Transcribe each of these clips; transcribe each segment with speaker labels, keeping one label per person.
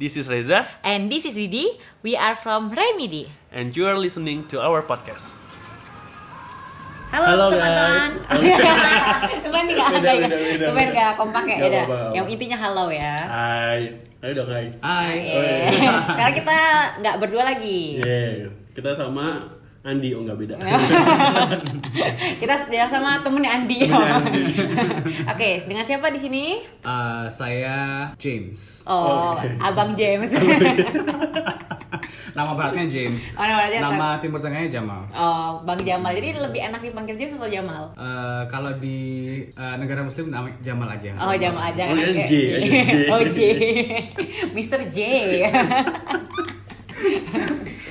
Speaker 1: This is Reza,
Speaker 2: And this is Didi. We are from Remedy.
Speaker 1: and you are listening to our podcast. Halo, Oh, iya.
Speaker 2: Halo, teman-teman. Teman nggak
Speaker 1: Beda,
Speaker 2: ada ya.
Speaker 1: beda, beda,
Speaker 2: Teman
Speaker 1: beda.
Speaker 2: nggak kompak ya.
Speaker 1: Nggak
Speaker 2: Eda?
Speaker 1: apa-apa, Oh, nggak
Speaker 2: Yang
Speaker 1: apa-apa.
Speaker 2: intinya halo ya.
Speaker 1: Hai, ayo dong hai. Hai.
Speaker 2: Eh,
Speaker 3: Oh,
Speaker 1: iya.
Speaker 3: iya.
Speaker 2: Sekarang kita nggak berdua lagi.
Speaker 1: Kita sama Andi, oh nggak beda.
Speaker 2: kita tidak sama temennya Andi. Oke, dengan siapa di sini?
Speaker 4: Eh, saya James.
Speaker 2: Oh,
Speaker 1: Oke.
Speaker 2: Abang James.
Speaker 4: Nama baratnya James.
Speaker 2: Oh, nama baratnya
Speaker 4: Nama timur tengahnya Jamal.
Speaker 2: oh, Bang Jamal. Jadi lebih enak dipanggil James atau Jamal?
Speaker 4: Eh, kalau di eh, negara muslim nama Jamal aja.
Speaker 2: Oh, Jamal aja.
Speaker 1: Oh,
Speaker 2: kan?
Speaker 1: iya, J, aja, J.
Speaker 2: Oh, J. Mr. J.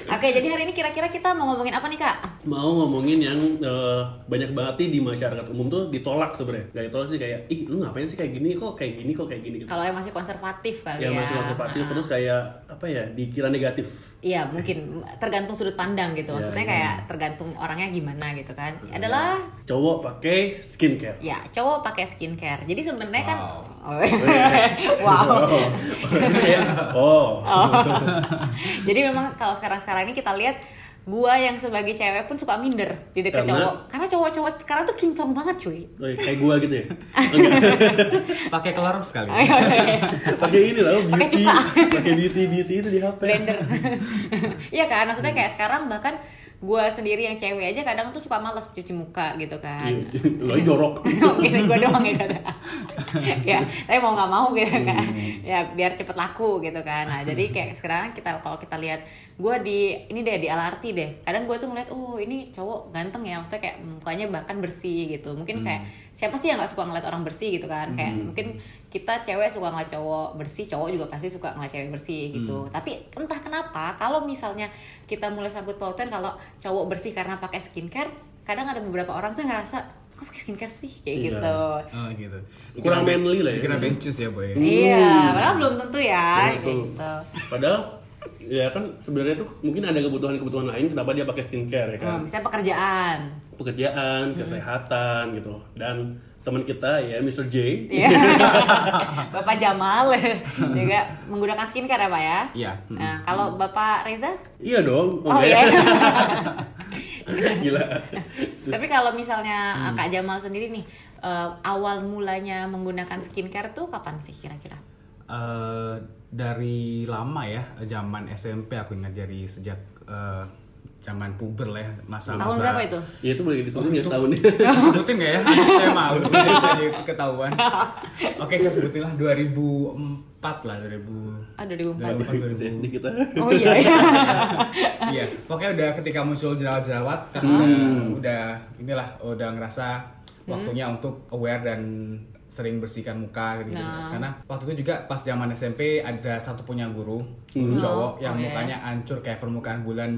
Speaker 2: Oke, jadi hari ini kira-kira kita mau ngomongin apa nih, Kak?
Speaker 3: mau ngomongin yang eh, banyak banget nih di masyarakat umum tuh ditolak sebenarnya gak ditolak sih kayak ih lu ngapain sih kayak gini kok kayak gini kok kayak gini gitu
Speaker 2: Kalau yang masih konservatif kali ya.
Speaker 3: yang masih konservatif terus kayak apa ya dikira negatif
Speaker 2: Iya, mungkin tergantung sudut pandang gitu. Maksudnya kayak tergantung orangnya gimana gitu kan. Adalah
Speaker 3: cowok pakai skincare
Speaker 2: ya cowok pakai skincare. Jadi sebenarnya kan wow.
Speaker 3: Kayak, oh
Speaker 2: Jadi memang kalau sekarang-sekarang ini kita lihat gua yang sebagai cewek pun suka minder di dekat
Speaker 3: Karena?
Speaker 2: cowok. Karena cowok-cowok sekarang tuh kinclong banget, cuy.
Speaker 3: Oke, kayak gua gitu ya
Speaker 4: Pakai kelarung sekali.
Speaker 2: Oh, iya.
Speaker 3: pakai ini lah
Speaker 2: Pakai
Speaker 3: beauty
Speaker 2: cuka.
Speaker 3: pakai beauty beauty itu di hp
Speaker 2: blender iya kan maksudnya kayak sekarang bahkan gue sendiri yang cewek aja kadang tuh suka males cuci muka gitu kan
Speaker 3: lo jorok
Speaker 2: mungkin gue doang ya kadang ya tapi mau nggak mau gitu kan ya biar cepet laku gitu kan nah jadi kayak sekarang kita kalau kita lihat gue di ini deh di LRT deh kadang gue tuh ngeliat oh ini cowok ganteng ya maksudnya kayak mukanya bahkan bersih gitu mungkin kayak siapa sih yang nggak suka ngeliat orang bersih gitu kan kayak mungkin kita cewek suka ngeliat cowok bersih cowok juga pasti suka ngeliat cewek bersih gitu tapi entah kenapa kalau misalnya kita mulai sambut pautan kalau cowok bersih karena pakai skincare kadang ada beberapa orang tuh ngerasa kok pakai skincare sih kayak
Speaker 3: Iya.
Speaker 2: gitu
Speaker 4: Oh, gitu.
Speaker 3: Kurang
Speaker 4: Dikira-
Speaker 3: manly lah ya.
Speaker 4: Dikira bencus ya, Boy.
Speaker 2: iya padahal belum tentu ya kayak
Speaker 3: Betul.
Speaker 2: gitu
Speaker 3: padahal ya kan sebenarnya tuh mungkin ada kebutuhan-kebutuhan lain kenapa dia pakai skincare ya kan
Speaker 2: Hmm, misalnya pekerjaan
Speaker 3: pekerjaan, kesehatan gitu. Dan teman kita ya Mr. J.
Speaker 2: Iya. bapak Jamal juga menggunakan skincare ya pak ya
Speaker 4: Iya.
Speaker 2: nah kalau bapak Reza
Speaker 3: Iya dong.
Speaker 2: oh
Speaker 3: enggak
Speaker 2: iya
Speaker 3: ya? Gila.
Speaker 2: tapi kalau misalnya uh, kak Jamal sendiri nih uh, awal mulanya menggunakan skincare tuh kapan sih kira-kira
Speaker 4: Eh, dari lama ya, zaman SMP aku ingat dari sejak eh, zaman puber lah ya,
Speaker 2: tahun
Speaker 4: masa-masa.
Speaker 2: berapa itu
Speaker 3: Ya itu boleh ditulis ya tahunnya.
Speaker 4: sebutin gak ya? saya mau jadi ketahuan. Oke, saya sebutin lah 2004 lah 2000.
Speaker 2: ah 2004
Speaker 3: Ini
Speaker 4: 2004
Speaker 3: kita.
Speaker 2: oh iya iya.
Speaker 4: Iya, pokoknya udah ketika muncul jerawat-jerawat
Speaker 2: Hmm.
Speaker 4: karena udah inilah udah ngerasa waktunya untuk aware dan sering bersihkan muka gitu.
Speaker 2: Nah.
Speaker 4: Karena waktu itu juga pas zaman SMP ada satu punya guru, guru cowok yang
Speaker 2: Hmm. Oh, oke.
Speaker 4: mukanya hancur kayak permukaan bulan.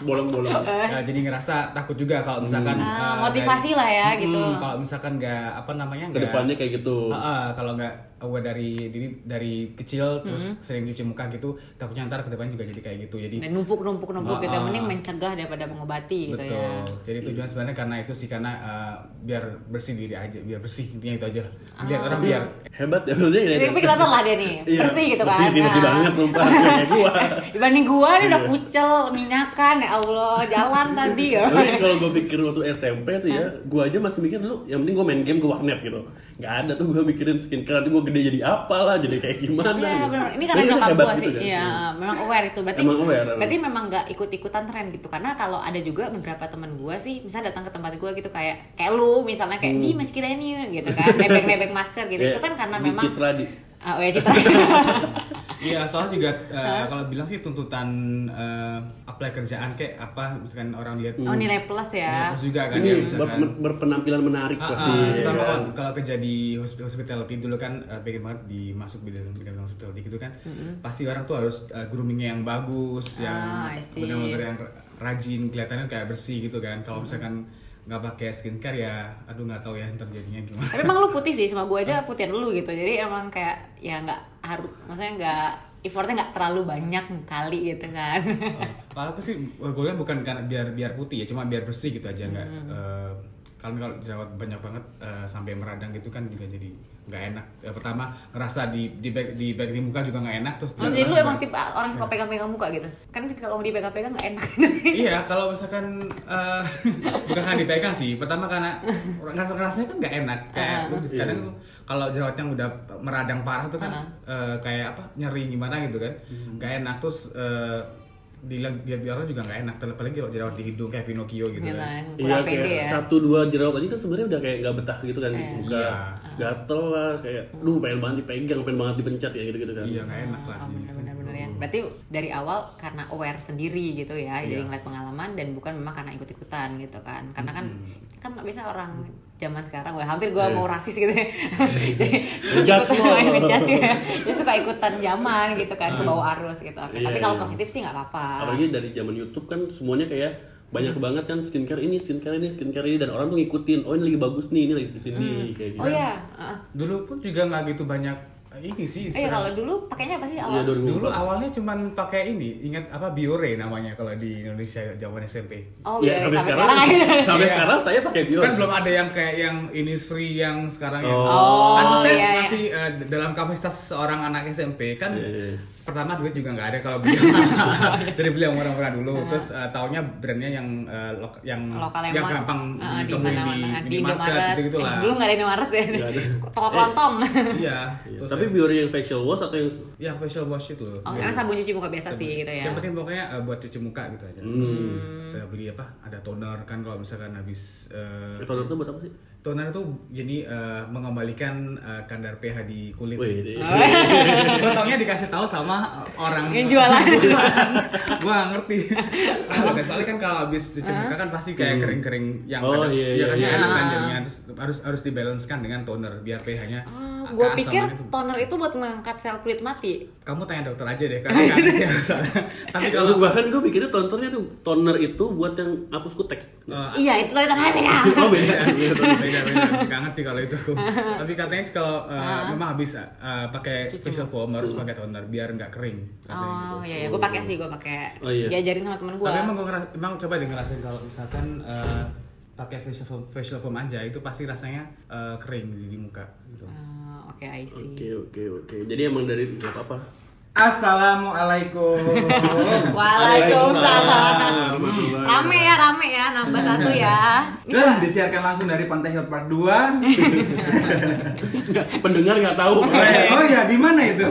Speaker 3: Bolong-bolong.
Speaker 4: Nah, jadi ngerasa takut juga kalau misalkan
Speaker 2: Ah,
Speaker 4: eh,
Speaker 2: motivasi lah ya gitu
Speaker 4: Hmm, kalau misalkan nggak apa namanya
Speaker 2: Iya.
Speaker 4: nggak-
Speaker 3: Kedepannya kayak gitu.
Speaker 4: Ah, ah, kalau nggak aware dari diri dari kecil terus
Speaker 2: Hmm.
Speaker 4: sering cuci muka gitu takutnya ntar kedepannya juga jadi kayak gitu jadi
Speaker 2: dan
Speaker 3: Iya.
Speaker 2: numpuk numpuk numpuk
Speaker 4: Ah,
Speaker 2: gitu
Speaker 4: ah.
Speaker 2: mending mencegah daripada mengobati gitu
Speaker 4: betul
Speaker 2: ya
Speaker 4: jadi tujuan sebenarnya karena itu sih karena eh, biar bersih diri aja biar bersih intinya itu aja biar orang
Speaker 2: Ah.
Speaker 4: biar
Speaker 3: Hebat ya maksudnya ya.
Speaker 2: tapi kelihatan lah dia nih
Speaker 3: Iya,
Speaker 2: bersih gitu kan
Speaker 3: bersih, bersih
Speaker 2: Nah.
Speaker 3: banget, sumpah. Kayak gua. Iya.
Speaker 2: dibanding gua dia udah kucel minyakan ya Allah jalan tadi ya
Speaker 3: Tapi kalau gue pikir waktu SMP tuh
Speaker 2: Ah.
Speaker 3: ya, gue aja masih mikir dulu, yang penting gue main game ke warnet gitu. Gak ada tuh gue mikirin skincare, nanti gue gede jadi apa lah, jadi kayak gimana.
Speaker 2: Iya
Speaker 3: gitu.
Speaker 2: benar. Ini karena
Speaker 3: Tapi
Speaker 2: nyokap
Speaker 3: hebat
Speaker 2: gua
Speaker 3: gitu
Speaker 2: sih.
Speaker 3: kan.
Speaker 2: Iya, memang aware itu. Berarti
Speaker 3: Emang aware, emang.
Speaker 2: berarti memang nggak ikut-ikutan tren gitu. Karena kalau ada juga beberapa teman gua sih, misalnya datang ke tempat gua gitu kayak kayak lu misalnya kayak di maskernya ini gitu kan, nebek-nebek masker gitu.
Speaker 3: Hmm. Iya,
Speaker 2: Itu kan karena
Speaker 3: di
Speaker 2: memang
Speaker 3: Citra, di-
Speaker 2: Ah, oh ya citra.
Speaker 4: Iya, soalnya juga eh, kalau bilang sih tuntutan eh, apply kerjaan kayak apa misalkan orang lihat
Speaker 2: oh nilai plus
Speaker 3: Iya.
Speaker 2: ya.
Speaker 4: terus juga kan
Speaker 3: Ini
Speaker 4: ya
Speaker 3: ber-
Speaker 4: misalkan
Speaker 3: ber- berpenampilan menarik
Speaker 4: Ah,
Speaker 3: pasti.
Speaker 4: ah,
Speaker 3: ya
Speaker 4: terutama
Speaker 3: kan?
Speaker 4: kalau, kalau kerja di hospital hospitality dulu kan eh, pengen banget dimasuk bidang bidang hospitality gitu kan pasti orang tuh harus eh, groomingnya yang bagus
Speaker 2: Ah,
Speaker 4: yang
Speaker 2: I see.
Speaker 4: benar-benar yang rajin kelihatannya kayak bersih gitu kan kalau misalkan nggak pakai skincare ya aduh nggak tahu ya ntar jadinya gimana
Speaker 2: Tapi emang lu putih sih sama gua aja putihan lu gitu. Jadi emang kayak ya nggak harus maksudnya nggak effortnya nggak terlalu banyak kali gitu kan.
Speaker 4: kalau aku sih goalnya bukan karena biar biar putih ya cuma biar bersih gitu aja nggak eh, kalau kalau jerawat banyak banget eh, sampai meradang gitu kan juga jadi nggak enak. Ya, pertama ngerasa di di back di, back di muka juga nggak enak terus.
Speaker 2: Oh,
Speaker 3: iya,
Speaker 4: di-
Speaker 2: jadi lu emang tipe orang suka pegang-pegang muka gitu? Kan kalau mau dipegang-pegang gak enak
Speaker 4: Iya, kalau misalkan eh, bukan kan dipegang sih. Pertama karena ngerasa rasanya kan nggak enak.
Speaker 2: Ah,
Speaker 4: Kayak lu bisa- kadang tuh kalau jerawatnya udah meradang parah tuh kan
Speaker 2: Ah.
Speaker 4: eh, kayak apa nyeri gimana gitu kan, nggak enak terus eh, dilihat lihat orang juga nggak enak. Apalagi kalau jerawat di hidung kayak Pinocchio gitu.
Speaker 2: Gitu ya,
Speaker 4: Kan.
Speaker 2: kurang
Speaker 3: Iya
Speaker 2: pede
Speaker 3: kayak
Speaker 2: ya Eh,
Speaker 3: satu dua jerawat aja kan sebenarnya udah kayak nggak betah gitu kan di muka
Speaker 4: Iya.
Speaker 3: gatel lah kayak, duh pengen banget dipegang, pengen banget dipencet ya gitu gitu kan.
Speaker 4: Iya nggak enak lah.
Speaker 2: Oh, benar-benar ya. Berarti dari awal karena aware sendiri gitu ya, jadi ngeliat pengalaman dan bukan memang karena ikut-ikutan gitu kan. Karena kan kan nggak bisa orang zaman sekarang, wah hampir gue mau rasis gitu ya. Jadi,
Speaker 3: Ngejudge
Speaker 2: ikut-
Speaker 3: semua.
Speaker 2: ngejudge ya. Dia suka ikutan zaman gitu kan, ke bawah arus gitu. Oke,
Speaker 3: Iya,
Speaker 2: Tapi kalau
Speaker 3: iya.
Speaker 2: positif sih nggak apa-apa.
Speaker 3: Apalagi dari zaman YouTube kan semuanya kayak banyak banget kan skincare ini, skincare ini, skincare ini dan orang tuh ngikutin, oh ini lagi bagus nih, ini lagi di sini kayak gitu.
Speaker 2: Oh iya, heeh.
Speaker 4: Dulu pun juga nggak gitu banyak eh, ini
Speaker 2: Eh,
Speaker 4: sih. inspirasi.
Speaker 2: kalau dulu pakainya apa sih
Speaker 3: Iya
Speaker 2: awal?
Speaker 3: 2004.
Speaker 4: Dulu awalnya cuman pakai ini, ingat apa Biore namanya kalau di Indonesia zaman SMP.
Speaker 2: Oh
Speaker 3: Ya,
Speaker 2: iya,
Speaker 3: sampai
Speaker 2: sampai
Speaker 3: sekarang,
Speaker 2: sekarang aja.
Speaker 3: sampai
Speaker 4: Iya.
Speaker 3: sekarang saya pakai Dior.
Speaker 4: kan belum ada yang kayak yang ini free yang sekarang ya.
Speaker 2: Oh.
Speaker 4: kan maksudnya
Speaker 2: iya, iya.
Speaker 4: masih eh, dalam kapasitas seorang anak SMP kan
Speaker 3: Iya, iya.
Speaker 4: pertama duit juga nggak ada kalau beli dari beli yang murah-murah dulu terus eh, taunya brandnya yang eh, lok- yang
Speaker 2: Iya. lokal
Speaker 4: yang
Speaker 2: emang
Speaker 4: gampang
Speaker 2: Heeh, di
Speaker 4: ditemui di,
Speaker 2: mana-mana di,
Speaker 4: di
Speaker 2: Indomaret
Speaker 4: market gitu
Speaker 2: Eh,
Speaker 4: lah.
Speaker 2: dulu nggak ada Indomaret ya
Speaker 3: Nggak ada.
Speaker 2: toko kelontong
Speaker 4: Iya.
Speaker 3: Iya.
Speaker 4: terus
Speaker 3: Tapi
Speaker 4: ya.
Speaker 3: Biore yang facial wash atau yang
Speaker 4: ya facial wash itu loh.
Speaker 2: oh
Speaker 4: Iya.
Speaker 2: emang sabun cuci muka biasa sih gitu ya
Speaker 4: Yang penting pokoknya eh, buat cuci muka gitu aja.
Speaker 3: Hmm.
Speaker 4: Terus eh, beli apa? Ada toner kan kalau misalkan habis eh,
Speaker 3: itu itu buat apa sih?
Speaker 4: toner itu jadi eh, mengembalikan eh, kadar pH di kulit.
Speaker 3: Wih, ini-
Speaker 2: Ah.
Speaker 4: Potongnya dikasih tahu sama eh, orang
Speaker 2: Yang jualan.
Speaker 4: Gua nggak ngerti. Nah, soalnya kan kalau habis cuci muka kan pasti kayak kering-kering yang
Speaker 3: Oh,
Speaker 4: kadang-
Speaker 3: iya,
Speaker 4: ya
Speaker 3: iya,
Speaker 4: kan
Speaker 3: iya.
Speaker 4: ya, kan jadinya harus harus harus dibalancekan dengan toner biar pH-nya.
Speaker 2: gue Ah, pikir
Speaker 4: gitu.
Speaker 2: toner itu buat mengangkat sel kulit mati
Speaker 4: kamu tanya dokter aja deh karena nggak ngerti ya, soalnya. Tapi kalau
Speaker 3: Kalau bahkan gue pikirnya tonernya tuh toner itu buat yang hapus kutek. Nah,
Speaker 4: eh,
Speaker 2: iya itu tapi tonernya beda
Speaker 4: Oh beda, beda, beda, beda. Gak ngerti kalau itu. Tapi katanya sih kalau uh, memang habis uh, pakai facial foam harus pakai toner biar nggak kering. Katanya
Speaker 2: oh
Speaker 4: gitu.
Speaker 2: iya iya gue pakai sih gue pakai
Speaker 3: Oh, iya.
Speaker 2: diajarin sama temen gue
Speaker 4: Tapi emang, gua ngeras- emang coba deh ngerasain kalau misalkan uh, pakai facial foam, facial foam aja itu pasti rasanya uh, kering di, di muka. Gitu.
Speaker 2: Oh, oke I see
Speaker 3: Oke oke oke. Jadi emang dari nggak apa-apa.
Speaker 5: Assalamualaikum.
Speaker 3: Ah,
Speaker 2: Waalaikumsalam rame ya rame ya nambah satu ya ini
Speaker 5: Dan disiarkan langsung dari Pantai Hill Part 2.
Speaker 3: Pendengar nggak tahu.
Speaker 5: oh ya, di mana itu?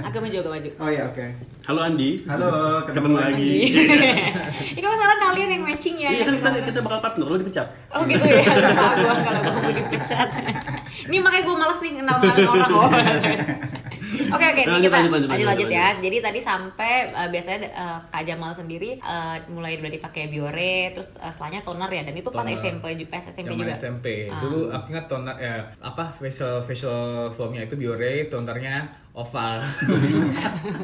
Speaker 2: agak maju agak maju
Speaker 5: Oh ya, oke.
Speaker 3: Halo Andi.
Speaker 5: Halo, ketemu
Speaker 3: ketemu lagi.
Speaker 2: lagi ini kamu sekarang kalian yang matching ya
Speaker 3: Iya
Speaker 2: yang
Speaker 3: kan kita
Speaker 2: sekarang.
Speaker 3: kita bakal partner lo dipecat.
Speaker 2: Oh gitu ya, lupa gue kalau gue mau dipecat Ini makanya gue males nih kenal kenalin orang oh. Oke oke, ini
Speaker 3: Lanjut,
Speaker 2: kita
Speaker 3: lanjut, lanjut,
Speaker 2: lanjut lanjut
Speaker 3: lanjut,
Speaker 2: ya. Jadi tadi sampai eh, biasanya eh, Kak Jamal sendiri eh, mulai dari pakai Biore, terus eh, setelahnya toner ya. Dan itu pas
Speaker 4: Toner.
Speaker 2: SMP juga, pas SMP
Speaker 4: Zaman
Speaker 2: juga.
Speaker 4: SMP.
Speaker 2: Ah.
Speaker 4: Dulu aku ingat toner eh, apa facial facial foamnya itu Biore, tonernya oval.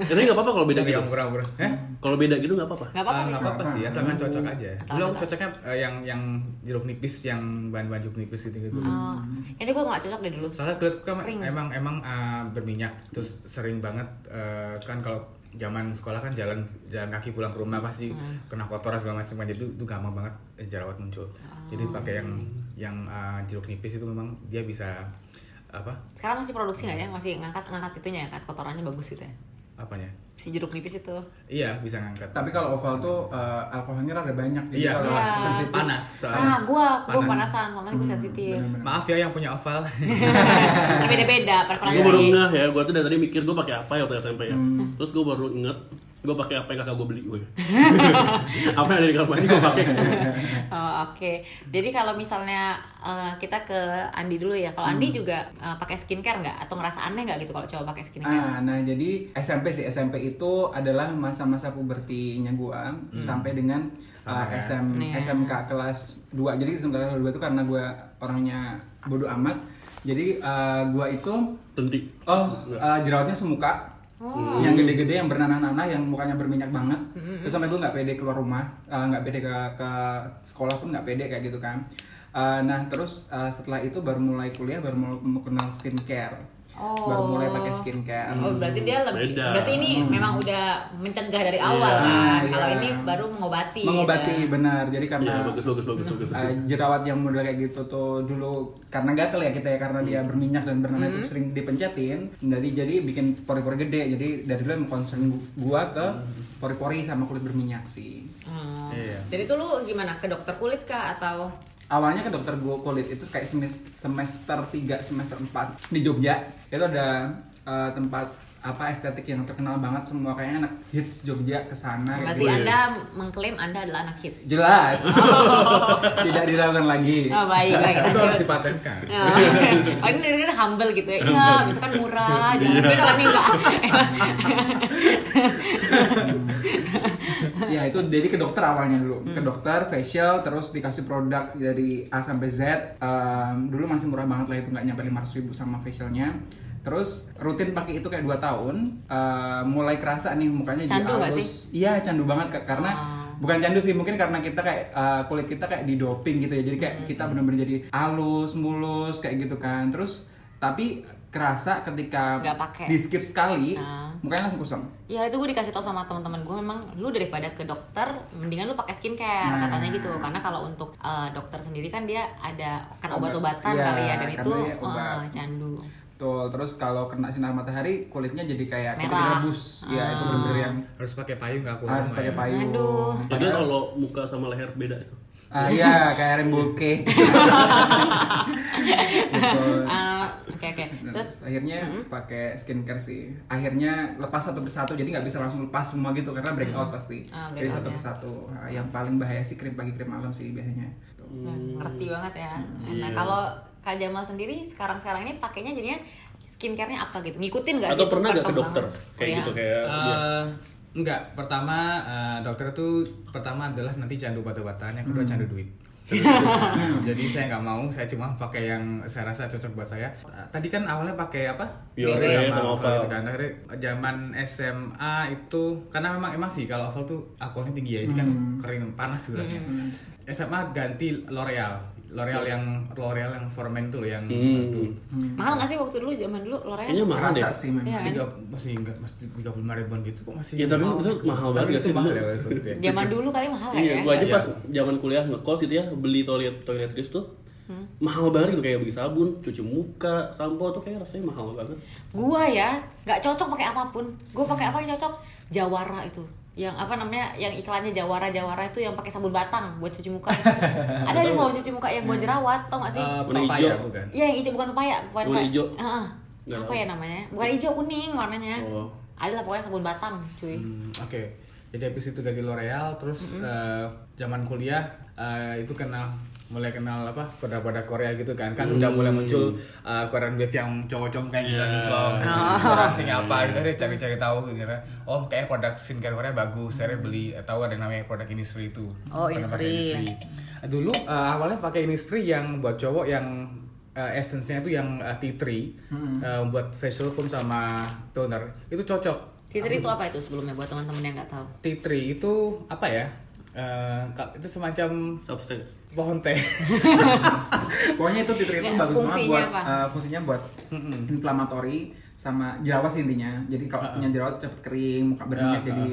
Speaker 3: Katanya nggak apa-apa kalau beda
Speaker 4: Cari
Speaker 3: gitu.
Speaker 4: yang murah-murah. Eh?
Speaker 3: Kalau beda gitu nggak apa-apa.
Speaker 2: Gak apa-apa
Speaker 4: Ah,
Speaker 2: sih.
Speaker 4: nggak apa-apa sih, asalkan cocok aja.
Speaker 2: Asalkan
Speaker 4: Belum
Speaker 2: cocok.
Speaker 4: cocoknya eh, yang yang jeruk nipis, yang bahan-bahan jeruk nipis gitu gitu.
Speaker 2: Oh, itu gue gak cocok deh dulu.
Speaker 4: Soalnya kulit kan
Speaker 2: Kering.
Speaker 4: emang emang ah, berminyak, terus sering banget eh, kan kalau zaman sekolah kan jalan jalan kaki pulang ke rumah pasti
Speaker 2: Hmm.
Speaker 4: kena kotoran segala macam kan jadi itu gampang banget eh, jerawat muncul. Jadi
Speaker 2: Oh.
Speaker 4: pakai yang yang ah, jeruk nipis itu memang dia bisa apa
Speaker 2: Sekarang masih produksi gak ya? Masih ngangkat ngangkat itunya ya, kan kotorannya bagus gitu ya.
Speaker 4: apanya?
Speaker 2: Si jeruk nipis itu.
Speaker 4: Iya bisa ngangkat.
Speaker 5: Tapi kalau oval tuh eh, alkoholnya rada banyak
Speaker 4: Iya.
Speaker 5: jadi kalau
Speaker 2: Iya.
Speaker 5: sensitif.
Speaker 4: panas.
Speaker 2: Ah, gue gue
Speaker 4: Panas.
Speaker 2: panasan, soalnya gue sensitif.
Speaker 4: Maaf ya yang punya oval.
Speaker 2: Beda-beda
Speaker 3: Gue baru
Speaker 2: preferensi.
Speaker 3: ngeh ya, gue tuh dari tadi mikir gue pakai apa ya waktu SMP ya.
Speaker 2: Hmm.
Speaker 3: Terus gue baru inget gue pakai apa yang kakak gue beli gue. apa yang ada di kamar ini gue pakai.
Speaker 2: Oh, Oke, jadi kalau misalnya eh, kita ke Andi dulu ya. Kalau
Speaker 5: Hmm.
Speaker 2: Andi juga eh, pakai skincare nggak? Atau ngerasa aneh nggak gitu kalau cowok pakai skincare?
Speaker 5: Ah, nah jadi SMP sih SMP itu adalah masa-masa pubertinya gua sampai dengan uh, SM
Speaker 2: Iya.
Speaker 5: SMK kelas 2. Jadi SMK kelas 2 itu karena gua orangnya bodoh amat. Jadi uh, gua itu
Speaker 3: Berhenti.
Speaker 5: Oh, uh, jerawatnya semuka.
Speaker 2: Oh.
Speaker 5: Yang gede-gede, yang bernanah-nanah, yang mukanya berminyak banget. Terus sampai gue nggak pede keluar rumah, uh, nggak pede ke, ke sekolah pun nggak pede kayak gitu eh, kan. Uh, nah terus uh, setelah itu baru mulai kuliah, baru mulai kenal skincare.
Speaker 2: Oh.
Speaker 5: baru mulai pakai skincare
Speaker 2: Oh berarti dia lebih
Speaker 3: Beda.
Speaker 2: berarti ini memang udah mencegah dari awal
Speaker 5: hmm, Iya,
Speaker 2: kan.
Speaker 5: iya.
Speaker 2: Kalau ini baru mengobati.
Speaker 5: mengobati
Speaker 2: gitu.
Speaker 5: benar jadi karena
Speaker 3: Iya, bagus bagus bagus bagus.
Speaker 2: Ah.
Speaker 5: eh, jerawat yang model kayak gitu tuh dulu karena gatel ya kita ya karena dia berminyak dan bernanah itu sering dipencetin jadi jadi bikin pori-pori gede jadi dari dulu emang concern gua ke pori-pori sama kulit berminyak sih
Speaker 2: Hmm.
Speaker 4: Iya.
Speaker 2: Jadi tuh lu gimana ke dokter kulit kah atau
Speaker 5: awalnya ke dokter gua kulit itu kayak semes- semester 3 semester 4 di Jogja itu ada eh, tempat apa estetik yang terkenal banget semua kayaknya anak hits Jogja kesana kayak
Speaker 2: berarti
Speaker 5: gitu.
Speaker 2: Anda mengklaim Anda adalah anak hits?
Speaker 5: jelas tidak diragukan lagi
Speaker 2: Oh baik baik.
Speaker 4: itu harus
Speaker 2: lanjut.
Speaker 4: dipatenkan
Speaker 2: Oh, oke. oh ini dari sini humble gitu ya. Iya, misalkan murah,
Speaker 5: Iya.
Speaker 2: jangan gitu tapi enggak.
Speaker 5: ya itu jadi ke dokter awalnya dulu
Speaker 2: Hmm.
Speaker 5: ke dokter facial terus dikasih produk dari A sampai Z Ehm, dulu masih murah banget lah itu nggak nyampe 500 ribu sama facialnya terus rutin pakai itu kayak 2 tahun Ehm, mulai kerasa nih mukanya jadi
Speaker 2: Candu nggak Ah.
Speaker 5: halus. iya candu banget Kak. karena bukan candu sih mungkin karena kita kayak eh, kulit kita kayak didoping gitu ya jadi
Speaker 2: Hmm.
Speaker 5: kayak kita bener-bener jadi halus mulus kayak gitu kan terus tapi kerasa ketika
Speaker 2: Nggak pakai.
Speaker 5: di skip sekali
Speaker 2: Ah.
Speaker 5: mukanya langsung kusam
Speaker 2: Ya itu gue dikasih tau sama teman-teman gue memang lu daripada ke dokter mendingan lu pakai skincare
Speaker 5: Nah.
Speaker 2: katanya gitu karena kalau untuk eh, dokter sendiri kan dia ada kan
Speaker 5: Obat.
Speaker 2: obat-obatan
Speaker 5: Iya,
Speaker 2: kali ya dan itu
Speaker 5: karena dia obat.
Speaker 2: eh, candu.
Speaker 5: Betul, terus kalau kena sinar matahari kulitnya jadi kayak kulit
Speaker 2: Merah. Ah.
Speaker 5: direbus. Ya, itu bener-bener yang
Speaker 4: harus pakai payung nggak aku
Speaker 5: harus pakai payung.
Speaker 2: Aduh.
Speaker 3: Jadi kalau muka sama leher beda itu.
Speaker 5: Ah, iya, kayak rainbow cake. Betul.
Speaker 2: Eh, Oke oke. Terus
Speaker 5: Terus akhirnya pakai skincare sih. Akhirnya lepas satu persatu, jadi nggak bisa langsung lepas semua gitu karena breakout pasti.
Speaker 2: Ah,
Speaker 5: jadi
Speaker 2: breakout
Speaker 5: satu
Speaker 2: ya.
Speaker 5: persatu. Ah, yang paling bahaya sih krim pagi krim malam sih biasanya.
Speaker 2: Hmm, ngerti banget ya.
Speaker 5: Iya.
Speaker 2: Nah kalau Kak Jamal sendiri sekarang-sekarang ini pakainya jadinya skincare-nya apa gitu? Ngikutin nggak sih?
Speaker 3: Atau
Speaker 2: itu
Speaker 3: pernah nggak ke
Speaker 2: perkembangan?
Speaker 3: dokter kayak
Speaker 2: Iya.
Speaker 3: gitu kayak dia.
Speaker 4: Eh, enggak, pertama eh, dokter itu pertama adalah nanti candu obat-obatan, yang kedua candu duit. Jadi saya nggak mau, saya cuma pakai yang saya rasa cocok buat saya. Eh, Tadi kan awalnya pakai apa?
Speaker 3: Biore
Speaker 4: Biore
Speaker 3: sama
Speaker 4: Oval
Speaker 3: Oval.
Speaker 4: gitu kan. Akhirnya zaman SMA itu karena memang emang sih kalau Oval tuh alkoholnya tinggi ya, ini kan kering panas gitu rasanya. SMA ganti L'Oreal. L'Oreal yang L'Oreal yang Formen itu loh yang
Speaker 3: Hmm.
Speaker 4: itu.
Speaker 2: Mahal nggak sih waktu dulu zaman dulu L'Oreal?
Speaker 3: Kayaknya mahal ya? deh.
Speaker 5: Kerasa sih memang.
Speaker 2: Iya kan?
Speaker 4: Tiga, masih enggak masih 35 ribuan gitu kok masih
Speaker 3: Ya tapi itu mahal banget nggak
Speaker 4: Tapi itu
Speaker 3: sih dulu?
Speaker 4: mahal ya kalau itu ya.
Speaker 2: Zaman dulu kali mahal lah
Speaker 3: Iya,
Speaker 2: ya.
Speaker 3: gua aja
Speaker 4: Iya.
Speaker 3: pas zaman kuliah ngekos gitu ya, beli toilet toiletries tuh
Speaker 2: Hmm.
Speaker 3: mahal banget gitu kayak beli sabun, cuci muka, sampo tuh kayak rasanya mahal banget.
Speaker 2: Gua ya nggak cocok pakai apapun. Gua pakai apa yang cocok? Jawara itu. Yang apa namanya? Yang iklannya Jawara Jawara itu yang pakai sabun batang buat cuci muka. ada ada sabun cuci muka yang buat
Speaker 4: Hmm.
Speaker 2: jerawat, tau nggak sih?
Speaker 4: Eh,
Speaker 3: Warna
Speaker 4: papaya
Speaker 3: hijau.
Speaker 4: bukan?
Speaker 2: Iya yang hijau bukan pepaya, bukan
Speaker 3: Warna
Speaker 2: pepaya.
Speaker 3: hijau?
Speaker 2: Heeh.
Speaker 3: Nggak
Speaker 2: apa
Speaker 3: tahu.
Speaker 2: ya namanya? Bukan hijau, kuning warnanya.
Speaker 3: Oh.
Speaker 2: Ada lah pokoknya sabun batang, cuy.
Speaker 4: Hmm, Oke. Jadi habis itu dari L'Oreal terus eh, zaman kuliah eh, itu kenal mulai kenal apa produk-produk Korea gitu kan kan udah mulai muncul eh, Korean wave yang cowok-cowok kayak yeah.
Speaker 2: Oh.
Speaker 4: kinclong asing apa gitu deh cari-cari tahu gitu kira, oh kayak produk skincare Korea bagus saya beli eh, tahu ada namanya produk Innisfree itu
Speaker 2: Oh,
Speaker 4: Pernah pakai
Speaker 2: Innisfree.
Speaker 4: Eh, dulu eh, awalnya pakai Innisfree yang buat cowok yang eh, essence-nya itu yang eh, tea tree eh, buat facial foam sama toner itu cocok
Speaker 2: Titri itu apa itu sebelumnya buat teman-teman yang nggak tahu?
Speaker 4: Tea tree itu apa ya? Eh, ka- itu semacam
Speaker 3: Substance.
Speaker 4: pohon teh.
Speaker 5: Pokoknya itu titrit itu
Speaker 2: Ya,
Speaker 5: bagus banget
Speaker 2: fungsinya
Speaker 5: buat
Speaker 2: apa?
Speaker 5: eh, fungsinya buat inflamatori sama jerawat sih intinya. Jadi kalau punya jerawat cepet kering, muka berminyak
Speaker 4: Ah,
Speaker 5: jadi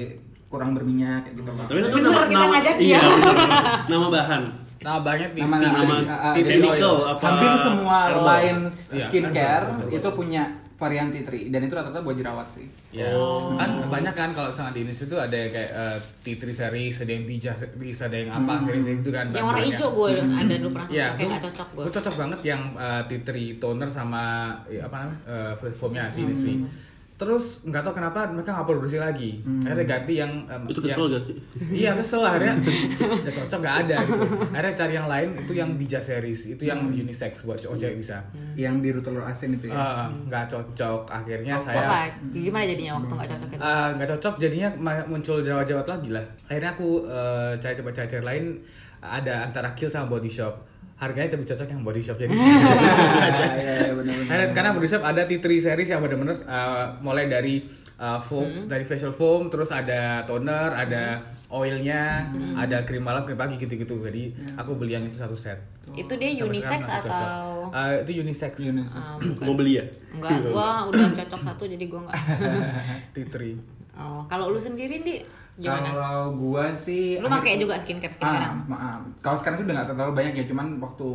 Speaker 5: kurang berminyak kayak gitu.
Speaker 3: Tapi itu
Speaker 2: Bener, kita ya. ngajak
Speaker 3: iya,
Speaker 2: dia.
Speaker 3: bener, bener. nama bahan.
Speaker 4: Nah, banyak di
Speaker 5: Nama-
Speaker 4: di-
Speaker 5: nama-
Speaker 4: di-
Speaker 5: ah, ah,
Speaker 4: tea tree
Speaker 3: chemical
Speaker 4: oil.
Speaker 3: apa?
Speaker 5: Hampir semua
Speaker 3: herbal? kan
Speaker 5: line
Speaker 4: Iya,
Speaker 5: skincare itu punya varian titri dan itu rata-rata buat jerawat sih.
Speaker 4: Ya. Kan banyak kan kalau sama di Indonesia itu ada yang kayak eh, tea tree series, ada yang bija series, ada yang apa series
Speaker 2: Yang
Speaker 4: itu kan.
Speaker 2: warna
Speaker 4: bahan-bahannya.
Speaker 2: hijau gue ada dulu pernah
Speaker 4: Iya,
Speaker 2: pakai
Speaker 4: itu-
Speaker 2: nggak cocok gue.
Speaker 4: itu cocok banget yang eh, tea tree toner sama ya, apa namanya? eh, face foamnya
Speaker 2: Hmm.
Speaker 4: si Innisfree. Terus nggak tahu kenapa mereka nggak produksi lagi. Akhirnya ganti yang em,
Speaker 3: Itu
Speaker 4: yang-
Speaker 3: kesel gak sih?
Speaker 4: iya kesel akhirnya udah cocok nggak ada gitu akhirnya cari yang lain itu yang bija series itu yang unisex buat cowok cewek bisa
Speaker 3: Hmm.
Speaker 5: Yang biru telur asin itu ya.
Speaker 4: Eh, nggak cocok akhirnya saya
Speaker 2: Apa? Gimana jadinya waktu nggak cocok itu?
Speaker 4: eh, nggak cocok jadinya ma- muncul jerawat-jerawat lagi lah akhirnya aku eh, cari coba cari cari lain ada antara kill sama body shop harganya lebih cocok yang body shop jadi body shop saja
Speaker 5: Iya, iya, benar-benar.
Speaker 4: karena, karena Body Shop ada T3 series yang benar-benar uh, eh, mulai dari uh, foam
Speaker 5: Mm-hmm.
Speaker 4: dari facial foam terus ada toner ada oilnya
Speaker 5: Mm-hmm.
Speaker 4: ada krim malam krim pagi gitu-gitu jadi aku beli yang itu satu set
Speaker 2: Itu dia
Speaker 4: Sampai
Speaker 2: unisex
Speaker 4: sekarang masih cocok.
Speaker 2: atau
Speaker 4: Uh, itu unisex
Speaker 5: Yunus.
Speaker 2: Ah,
Speaker 3: Mau beli ya?
Speaker 2: enggak?
Speaker 5: Iya.
Speaker 2: Gua udah cocok satu jadi gua enggak.
Speaker 4: titri
Speaker 2: Oh, kalau lu sendiri di gimana?
Speaker 5: Kalau gua sih
Speaker 2: Lu pakai juga skincare
Speaker 5: Ah,
Speaker 2: skincare?
Speaker 5: maaf. Kalau sekarang sih udah nggak terlalu banyak ya, cuman waktu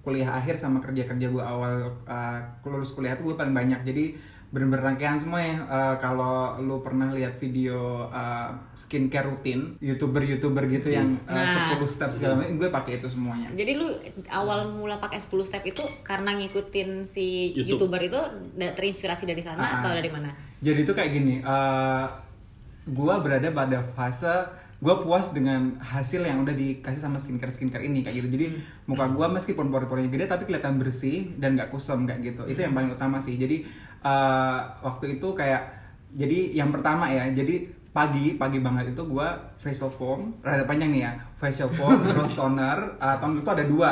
Speaker 5: kuliah akhir sama kerja-kerja gue awal uh, lulus kuliah tuh gue paling banyak. Jadi bener-bener rangkaian semua ya. Uh, kalau lu pernah lihat video uh, skincare rutin, youtuber-youtuber gitu yang uh,
Speaker 2: Nah.
Speaker 5: 10 step segala macam, gue pakai itu semuanya.
Speaker 2: Jadi lu awal mula pakai 10 step itu karena ngikutin si
Speaker 3: YouTube.
Speaker 2: youtuber itu da- terinspirasi dari sana
Speaker 5: Ah.
Speaker 2: atau dari mana?
Speaker 5: Jadi itu kayak gini, eh gue berada pada fase gue puas dengan hasil yang udah dikasih sama skincare skincare ini kayak gitu. Jadi muka gue meskipun pori-porinya gede tapi kelihatan bersih dan gak kusam kayak gitu. Itu yang paling utama sih. Jadi eh waktu itu kayak jadi yang pertama ya, jadi pagi pagi banget itu gue facial foam rada panjang nih ya facial foam terus toner Eh, toner itu ada dua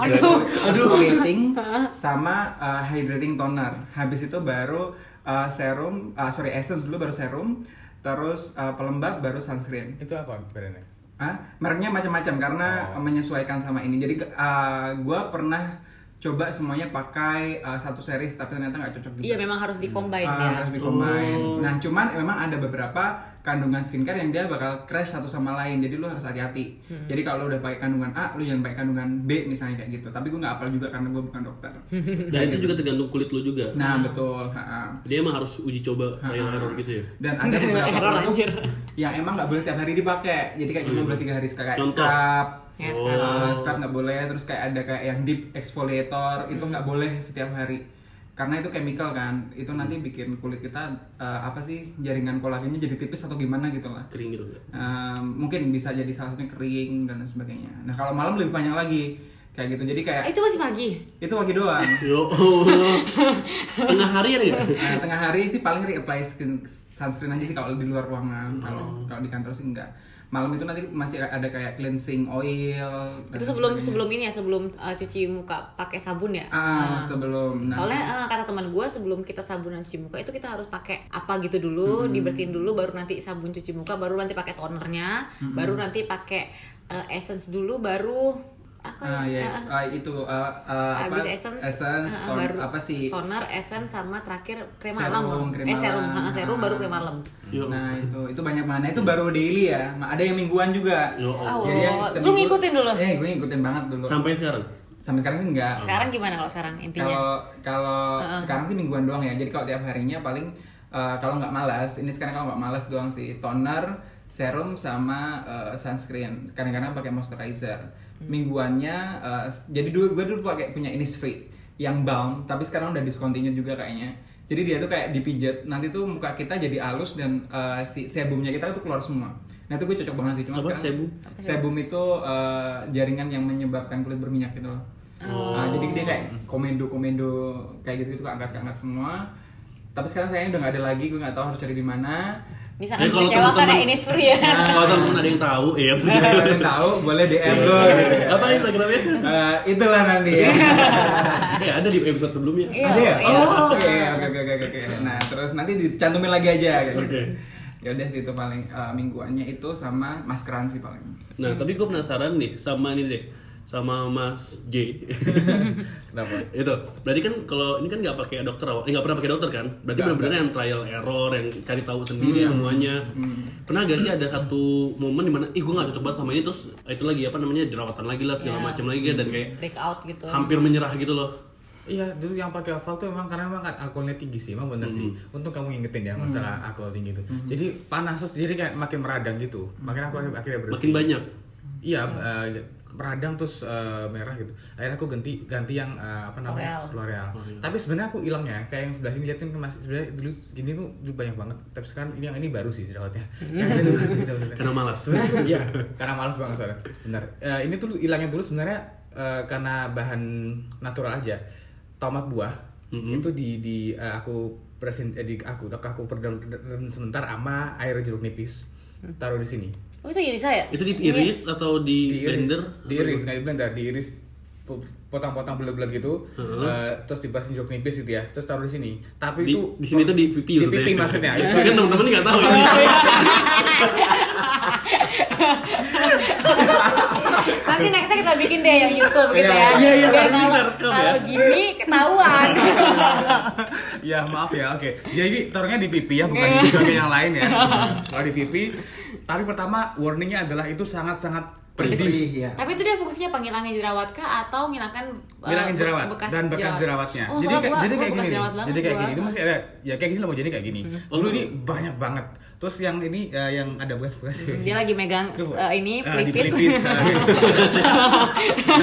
Speaker 2: Aduh.
Speaker 5: exfoliating sama uh, hydrating toner. Habis itu baru uh, serum, uh, sorry essence dulu baru serum, terus uh, pelembab baru sunscreen.
Speaker 4: itu apa brandnya
Speaker 5: Hah? Mereknya macam-macam karena
Speaker 2: Oh.
Speaker 5: menyesuaikan sama ini. Jadi uh, gue pernah coba semuanya pakai uh, satu series tapi ternyata nggak cocok juga.
Speaker 2: Iya memang harus dikombin
Speaker 5: Ah,
Speaker 2: ya.
Speaker 5: harus dikombin. Nah, cuman memang ada beberapa kandungan skincare yang dia bakal crash satu sama lain. Jadi lu harus hati-hati.
Speaker 2: Hmm.
Speaker 5: Jadi kalau lu udah pakai kandungan A, lu jangan pakai kandungan B misalnya kayak gitu. Tapi gue nggak apal juga karena gue bukan dokter.
Speaker 3: Dan itu juga tergantung kulit lu juga.
Speaker 5: nah, betul. Ha-ha.
Speaker 3: Dia emang harus uji coba trial error gitu ya.
Speaker 5: Dan ada beberapa
Speaker 2: Error,
Speaker 5: produk
Speaker 2: anjir.
Speaker 5: yang Ya, emang nggak boleh tiap hari dipakai. Jadi kayak cuma boleh tiga hari sekali. Kayak
Speaker 3: Contoh.
Speaker 5: scrub.
Speaker 2: Ya,
Speaker 5: Oh.
Speaker 2: sekarang.
Speaker 5: Ah, scrub nggak boleh. Terus kayak ada kayak yang deep exfoliator itu nggak boleh setiap hari. Karena itu chemical kan, itu nanti bikin kulit kita eh, apa sih jaringan kolagennya jadi tipis atau gimana gitu lah.
Speaker 3: Kering gitu enggak?
Speaker 5: Ehm, mungkin bisa jadi salah satunya kering dan lain sebagainya. Nah kalau malam lebih panjang lagi kayak gitu. Jadi kayak
Speaker 2: Eh, Itu masih pagi.
Speaker 5: itu pagi doang.
Speaker 3: Yo, Ya Allah. tengah hari ada nggak?
Speaker 5: Nah, tengah hari sih paling reapply skin sunscreen aja sih kalau di luar ruangan.
Speaker 2: Hmm.
Speaker 5: Kalau kalau di kantor sih enggak. Malam itu nanti masih ada kayak cleansing oil. dan
Speaker 2: Itu sebelum
Speaker 5: sebagainya.
Speaker 2: sebelum ini ya, sebelum uh, cuci muka pakai sabun ya. Ah.
Speaker 5: ah sebelum. Nah,
Speaker 2: Soalnya eh, kata teman gue sebelum kita sabunan cuci muka itu kita harus pakai apa gitu dulu,
Speaker 5: Hmm.
Speaker 2: dibersihin dulu, baru nanti sabun cuci muka, baru nanti pakai tonernya,
Speaker 5: Hmm.
Speaker 2: baru nanti pakai eh, essence dulu, baru apa
Speaker 5: ah,
Speaker 2: ya?
Speaker 5: ya,
Speaker 2: Ah,
Speaker 5: ah, itu ah, ah, apa?
Speaker 2: Habis essence, ah, ah,
Speaker 5: ton-
Speaker 2: baru
Speaker 5: apa sih?
Speaker 2: Toner, essence sama terakhir krim
Speaker 5: Serum,
Speaker 2: malam.
Speaker 5: krim
Speaker 2: eh serum,
Speaker 5: malam.
Speaker 2: ah, serum baru krim
Speaker 5: Ah.
Speaker 2: malam.
Speaker 3: Yo.
Speaker 5: Nah itu itu banyak banget. Nah, itu baru daily ya. Nah, ada yang mingguan juga.
Speaker 3: Yo, Allah.
Speaker 2: Oh,
Speaker 5: Jadi yang
Speaker 2: lu
Speaker 5: seminggu-
Speaker 2: ngikutin dulu.
Speaker 5: Eh, gue ngikutin banget dulu.
Speaker 3: Sampai sekarang.
Speaker 5: Sampai sekarang sih enggak.
Speaker 2: Sekarang gimana kalau sekarang intinya?
Speaker 5: Kalau kalau sekarang sih mingguan doang ya. Jadi kalau tiap harinya paling eh, kalau nggak malas, ini sekarang kalau nggak malas doang sih toner, serum sama eh, sunscreen. Kadang-kadang pakai moisturizer. Mingguannya eh, s- jadi dulu gue dulu pakai punya Innisfree yang balm, tapi sekarang udah discontinue juga kayaknya. Jadi dia tuh kayak dipijet, nanti tuh muka kita jadi halus dan eh, si sebumnya kita tuh keluar semua. Nah itu gue cocok banget sih, cuma
Speaker 3: Apa
Speaker 5: sekarang
Speaker 3: sebum?
Speaker 5: sebum itu eh, jaringan yang menyebabkan kulit berminyak gitu loh. Nah, jadi dia kayak komendo-komendo kayak gitu gitu angkat-angkat semua. Tapi sekarang saya udah nggak ada lagi, gue nggak tahu harus cari di mana.
Speaker 2: Ini sangat
Speaker 3: Ya, kalau
Speaker 2: mengecewakan ya
Speaker 3: teman-teman-
Speaker 2: ini free ya.
Speaker 5: Nah.
Speaker 3: Kalau teman ada yang tahu, ya.
Speaker 2: Iya,
Speaker 5: Kalau yang tahu Iya, boleh DM lo.
Speaker 3: Apa Instagramnya?
Speaker 5: Eh, itulah nanti ya.
Speaker 3: Eh ada di episode sebelumnya.
Speaker 2: Iya,
Speaker 5: ada ya?
Speaker 2: iya.
Speaker 5: Oh, oke oke oke oke, oke. Nah, terus nanti dicantumin lagi aja kayak gitu.
Speaker 3: Oke.
Speaker 5: Ya udah sih itu paling eh, mingguannya itu sama maskeran sih paling.
Speaker 3: Nah, tapi gue penasaran nih sama ini deh, sama Mas J.
Speaker 4: kenapa
Speaker 3: itu berarti kan kalau ini kan nggak pakai dokter awal eh, nggak pernah pakai dokter kan berarti benar-benar yang trial error yang cari tahu sendiri
Speaker 4: Hmm.
Speaker 3: semuanya pernah gak sih ada satu momen dimana ih gue nggak cocok banget sama ini terus "Ah, itu lagi apa namanya jerawatan lagi lah segala
Speaker 2: Ya.
Speaker 3: macam lagi kan, dan
Speaker 4: Hmm.
Speaker 3: kayak
Speaker 2: Breakout gitu.
Speaker 3: hampir menyerah gitu loh
Speaker 4: Iya, dulu yang pakai oval tuh emang karena emang kan alkoholnya tinggi sih, emang bener sih. Untung kamu ngingetin ya masalah alkohol tinggi itu. Jadi panas terus jadi kayak makin meradang gitu. Makin aku akhir- akhirnya berhenti.
Speaker 3: makin banyak
Speaker 4: Iya, eh, meradang terus eh, merah gitu. Akhirnya aku ganti ganti yang eh, apa namanya? L'oreal. Tapi sebenarnya aku hilangnya kayak yang sebelah sini liatin masih sebenarnya dulu gini tuh dulu banyak banget. Tapi sekarang ini yang ini baru sih jerawatnya. Yang ini dulu tidak usah.
Speaker 3: karena malas
Speaker 4: Iya, karena malas banget soalnya. Benar. Eh, ini tuh hilangnya dulu sebenarnya eh, karena bahan natural aja. Tomat buah itu di di eh, aku presin eh, di aku aku perdam perdam sebentar sama air jeruk nipis taruh di sini
Speaker 2: Oh, bisa jadi saya?
Speaker 3: itu diiris atau Hmm. di, blender
Speaker 4: diiris diiris nggak di blender diiris potong-potong bulat-bulat gitu eh, terus dibasin jeruk nipis gitu ya terus taruh di sini tapi
Speaker 3: Di,
Speaker 4: itu
Speaker 3: di sini tuh di pipi
Speaker 4: di pipi maksudnya Iya. ya.
Speaker 3: Tapi kan teman-teman nggak tahu ya.
Speaker 2: Nanti nextnya kita bikin deh yang YouTube gitu
Speaker 4: Iya,
Speaker 2: ya.
Speaker 4: iya, iya,
Speaker 2: Biar
Speaker 3: nanti
Speaker 2: kalau
Speaker 3: kita rekam ya.
Speaker 2: kalau gini ketahuan.
Speaker 4: ya maaf ya oke jadi taruhnya di pipi ya bukan di bagian yang lain ya kalau di pipi tapi pertama warningnya adalah itu sangat-sangat pedih
Speaker 5: Pedih, ya.
Speaker 2: Tapi itu dia fungsinya penghilangin jerawat kah atau menghilangkan eh,
Speaker 4: bilangin
Speaker 2: be-
Speaker 4: jerawat dan bekas jerawatnya.
Speaker 2: Oh,
Speaker 4: jadi,
Speaker 2: soalnya
Speaker 4: kayak-
Speaker 2: gua-
Speaker 4: jadi
Speaker 2: gua bekas
Speaker 4: kayak gini, nih.
Speaker 2: jerawat banget
Speaker 4: jadi kayak
Speaker 2: gua. Hmm.
Speaker 4: gini. Itu masih ada, ya kayak gini lah mau jadi kayak gini. Dulu ini banyak banget. Terus yang ini eh, yang ada bekas-bekas. kayak gini.
Speaker 2: Dia lagi megang
Speaker 4: Coba.
Speaker 2: eh, ini
Speaker 4: Ah, di
Speaker 2: pelipis.
Speaker 4: pelipis. Ah, gitu.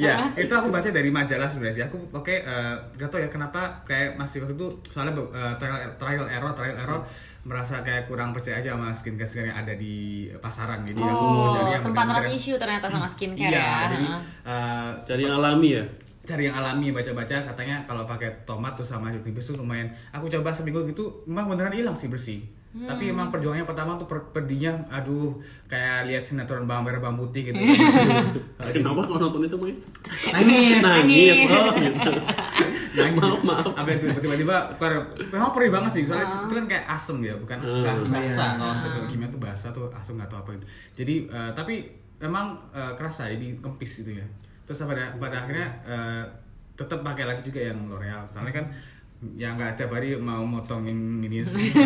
Speaker 4: ya itu aku baca dari majalah sebenarnya sih. aku oke eh, nggak tau ya kenapa kayak masih waktu itu soalnya be- eh, trial, trial error trial error merasa kayak kurang percaya aja sama skincare skincare yang ada di pasaran jadi aku Iya, mau
Speaker 2: oh,
Speaker 4: cari yang
Speaker 2: sempat ras
Speaker 4: benar-benar-
Speaker 2: isu ternyata sama skincare
Speaker 4: iya
Speaker 2: ya.
Speaker 4: jadi
Speaker 2: Heeh.
Speaker 4: eh,
Speaker 3: Cari yang alami ya.
Speaker 4: cari yang alami baca-baca katanya kalau pakai tomat tuh sama jeruk nipis tuh lumayan aku coba seminggu gitu emang beneran hilang sih bersih tapi emang perjuangannya pertama tuh per- pedihnya aduh kayak lihat sinetron bawang merah bawang putih gitu
Speaker 3: Kenapa kalau nonton itu Mai?
Speaker 5: Nangis.
Speaker 3: Nangis. Oh, gitu.
Speaker 4: nangis
Speaker 3: Maaf, maaf.
Speaker 4: Sampai tiba- tiba-tiba keluar- memang perih banget sih soalnya itu kan kayak asem ya bukan
Speaker 3: Ah.
Speaker 4: nggak bahasa kalau satu kimia tuh bahasa tuh asem nggak tahu apa itu jadi eh, tapi emang eh, kerasa jadi kempis gitu ya terus pada pada akhirnya eh, tetap pakai lagi juga yang L'Oreal soalnya kan yang nggak setiap hari mau motongin ini sih.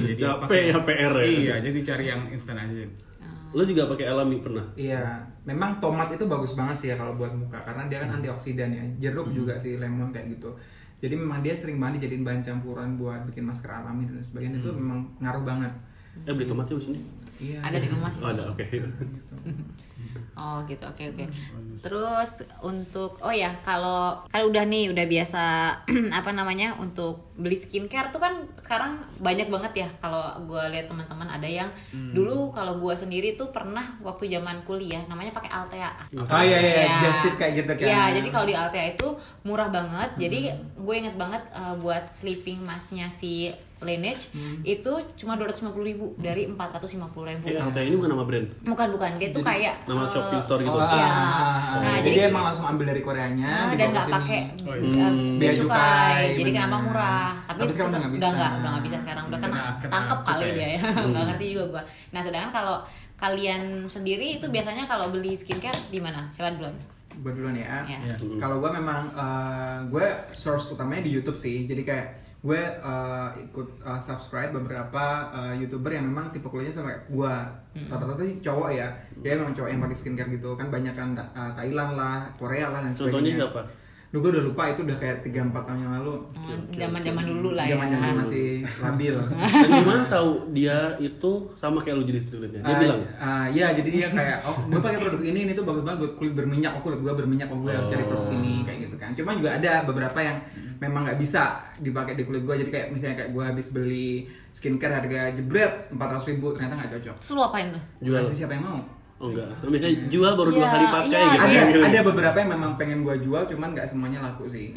Speaker 4: jadi
Speaker 3: Capek
Speaker 4: pakai-
Speaker 3: ya, PR ya.
Speaker 4: iya jadi cari yang instan aja
Speaker 3: Lo juga pakai alami pernah?
Speaker 5: Iya, memang tomat itu bagus banget sih ya kalau buat muka karena dia kan
Speaker 2: Hmm.
Speaker 5: antioksidan ya. Jeruk juga sih, lemon kayak gitu. Jadi memang dia sering banget dijadiin bahan campuran buat bikin masker alami dan sebagainya itu memang ngaruh banget.
Speaker 3: Eh beli tomat sih di sini.
Speaker 5: Iya.
Speaker 2: Hmm. Ada di rumah sih.
Speaker 3: Oh, ada, oke.
Speaker 2: Oh gitu, oke
Speaker 5: Hmm,
Speaker 2: oke. Terus untuk oh ya kalau kalau udah nih udah biasa apa namanya untuk beli skincare tuh kan sekarang banyak banget ya kalau gua lihat teman-teman ada yang
Speaker 5: Hmm.
Speaker 2: dulu kalau gua sendiri tuh pernah waktu zaman kuliah namanya pakai Altea.
Speaker 5: Oh iya iya, just tip kayak gitu kan. Hmm.
Speaker 2: Iya, jadi kalau di Altea itu murah banget. Jadi gue inget banget eh, buat sleeping masknya si Laneige
Speaker 5: Hmm.
Speaker 2: itu cuma 250.000 dari 450.000.
Speaker 3: Eh,
Speaker 5: Iya.
Speaker 3: Alta ini bukan nama brand.
Speaker 2: Bukan bukan, dia tuh kayak
Speaker 3: Nama
Speaker 2: eh,
Speaker 3: shopping store gitu.
Speaker 5: Oh, ah,
Speaker 2: Iya.
Speaker 5: ah, ah.
Speaker 2: Nah,
Speaker 5: jadi,
Speaker 2: jadi-
Speaker 5: dia emang langsung ambil dari Koreanya
Speaker 2: Ah,
Speaker 5: dibawa
Speaker 2: dan
Speaker 5: ke
Speaker 2: nggak
Speaker 5: sini.
Speaker 2: pakai
Speaker 5: Oh,
Speaker 2: eh,
Speaker 5: Bea
Speaker 2: bea
Speaker 5: cukai,
Speaker 2: cukai, jadi
Speaker 5: benar.
Speaker 2: kenapa murah tapi,
Speaker 5: Tapi sekarang
Speaker 2: itu
Speaker 5: udah nggak
Speaker 2: udah
Speaker 5: bisa.
Speaker 2: nggak udah nggak bisa sekarang udah kena,
Speaker 4: Kena- kena
Speaker 2: tangkep kali
Speaker 4: cukai.
Speaker 2: dia ya
Speaker 5: Hmm.
Speaker 2: nggak ngerti juga gua nah sedangkan kalau kalian sendiri itu biasanya kalau beli skincare di mana siapa duluan
Speaker 5: Gua duluan ya.
Speaker 2: Iya.
Speaker 5: Iya. Kalau gue memang eh, gue source utamanya di YouTube sih. Jadi kayak gue eh, ikut eh, subscribe beberapa eh, youtuber yang memang tipe kulitnya sama kayak gue. Rata-rata sih cowok ya. Dia memang cowok yang pakai skincare gitu kan banyak kan eh, Thailand lah, Korea lah dan
Speaker 3: Contohnya
Speaker 5: sebagainya.
Speaker 3: siapa?
Speaker 5: Duh, gue udah lupa itu udah kayak 3 4 tahun yang lalu.
Speaker 2: zaman zaman dulu lah ya
Speaker 5: Zaman-zaman masih labil.
Speaker 3: Dan gimana tahu dia itu sama kayak lu jenis kulitnya? Dia
Speaker 5: Ah,
Speaker 3: bilang.
Speaker 5: ah, iya jadi dia kayak oh gue pakai produk ini ini tuh bagus banget buat kulit berminyak oh kulit gue berminyak oh gue harus cari produk ini kayak gitu kan cuman juga ada beberapa yang memang nggak bisa dipakai di kulit gue jadi kayak misalnya kayak gue habis beli skincare harga jebret 400.000 ribu ternyata nggak cocok
Speaker 2: terus lu apain tuh
Speaker 3: Jual.
Speaker 5: Kasih siapa yang mau
Speaker 3: Oh enggak. Biasanya jual baru dua
Speaker 2: Iya,
Speaker 3: kali pakai
Speaker 2: iya,
Speaker 3: gitu.
Speaker 5: ada
Speaker 2: iya.
Speaker 5: ada beberapa yang memang pengen gue jual cuman nggak semuanya laku sih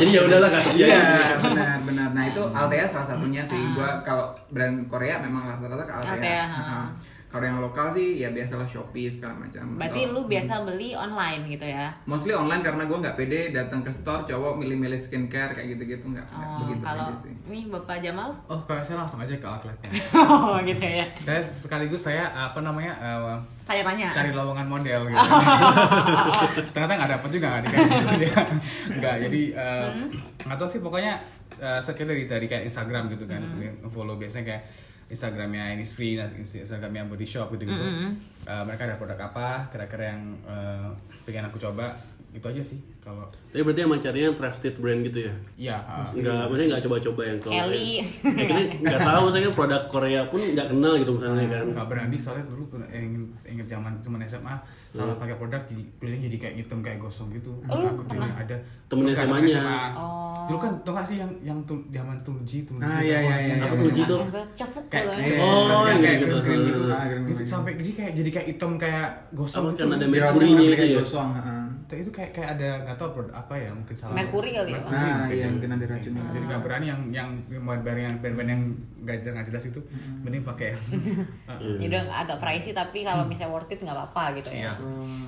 Speaker 3: Jadi ya udahlah kasih
Speaker 5: Iya,
Speaker 3: aja.
Speaker 5: benar benar. Nah, itu Altea salah satunya sih. Gua kalau brand Korea memang rata-rata ke Altea.
Speaker 2: Altea,
Speaker 5: Nah,
Speaker 2: ha.
Speaker 5: Kalau yang lokal sih ya biasalah Shopee segala macam.
Speaker 2: berarti lu
Speaker 5: Atau-
Speaker 2: biasa beli online gitu ya
Speaker 5: mostly online karena gua nggak pede datang ke store cowok milih-milih skincare kayak gitu-gitu nggak nggak
Speaker 2: oh,
Speaker 5: begitu
Speaker 2: kalau
Speaker 5: pede sih.
Speaker 2: nih bapak Jamal
Speaker 4: oh kalau saya langsung aja ke outletnya
Speaker 2: oh gitu ya
Speaker 4: saya sekaligus saya apa namanya eh,
Speaker 2: saya tanya
Speaker 4: cari lowongan model gitu. Ternyata nggak dapet juga nggak dikasih dia. Nggak jadi eh, nggak tahu sih pokoknya eh, sekian dari dari kayak Instagram gitu kan follow biasanya kayak Instagramnya ini free, Instagramnya body shop gitu gitu. mereka ada produk apa kira-kira yang eh, pengen aku coba itu aja sih kalau
Speaker 3: Tapi berarti emang carinya yang trusted brand gitu ya?
Speaker 4: ya eh,
Speaker 3: Enggak, maksudnya enggak coba-coba yang kalau
Speaker 2: Kelly.
Speaker 3: Ya, kayaknya enggak tahu saya kan produk Korea pun enggak kenal gitu misalnya kan.
Speaker 4: nggak berani soalnya dulu pernah- eh, inget inget zaman cuman SMA salah
Speaker 5: Hmm.
Speaker 4: pakai produk jadi kulitnya jadi kayak hitam kayak gosong gitu
Speaker 2: Oh,
Speaker 4: takut jadi ada
Speaker 3: Temen
Speaker 4: Dulu kan
Speaker 3: SMA
Speaker 4: temen
Speaker 3: -nya.
Speaker 4: SMA. dulu kan tau gak sih yang yang tul- zaman tulji tulji
Speaker 5: Ah,
Speaker 4: tau
Speaker 5: iya,
Speaker 4: gak
Speaker 5: iya,
Speaker 4: sih?
Speaker 5: iya,
Speaker 4: Apa
Speaker 5: iya,
Speaker 4: tulji
Speaker 5: iya.
Speaker 4: tuh
Speaker 2: Agak cafuk
Speaker 4: kayak
Speaker 2: kalau-
Speaker 5: iya.
Speaker 3: Oh,
Speaker 4: kayak, kayak
Speaker 3: iya,
Speaker 4: krim krim
Speaker 3: gitu.
Speaker 4: gitu,
Speaker 5: Ah, krim-krim.
Speaker 4: Itu sampai jadi kayak jadi kayak hitam kayak gosong
Speaker 3: Apa
Speaker 4: gitu.
Speaker 3: karena ada
Speaker 5: Jerawatnya
Speaker 3: merkurinya
Speaker 5: memang
Speaker 3: gitu
Speaker 5: kayak
Speaker 3: ya?
Speaker 5: gosong, heeh.
Speaker 4: itu kayak kayak ada nggak tahu produk apa ya mungkin salah
Speaker 2: Merkuri kali ya?
Speaker 4: Merkuri
Speaker 5: Nah,
Speaker 4: mungkin
Speaker 5: iya,
Speaker 4: ya.
Speaker 5: mungkin ada racunnya.
Speaker 4: jadi nggak berani yang yang barang yang band-band yang gajar nggak jelas itu
Speaker 5: Hmm.
Speaker 4: mending pakai yang
Speaker 2: Ya udah agak pricey tapi kalau misalnya worth it nggak apa-apa gitu ya.
Speaker 4: Iya.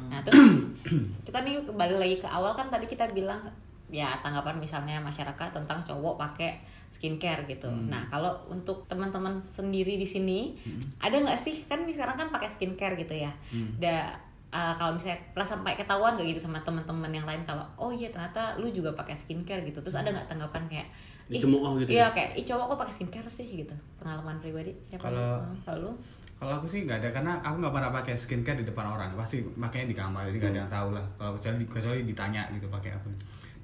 Speaker 2: Nah terus kita nih balik lagi ke awal kan tadi kita bilang ya tanggapan misalnya masyarakat tentang cowok pakai skincare gitu. Nah kalau untuk teman-teman sendiri di sini ada nggak sih kan ini sekarang kan pakai skincare gitu ya. Da eh, kalau misalnya pernah sampai ketahuan gak gitu sama teman-teman yang lain kalau oh iya ternyata lu juga pakai skincare gitu. Terus ada nggak tanggapan kayak "Ih,
Speaker 3: Dicemooh gitu
Speaker 2: Iya
Speaker 3: ya?
Speaker 2: kayak ih cowok kok pakai skincare sih gitu. Pengalaman pribadi siapa?
Speaker 4: Kalau-
Speaker 2: Hmm, kalau lu?
Speaker 4: Kalau aku sih nggak ada karena aku nggak pernah pakai skincare di depan orang. Pasti makanya di kamar jadi nggak ada yang tahu lah. Kalau kecuali kecuali ditanya gitu pakai apa.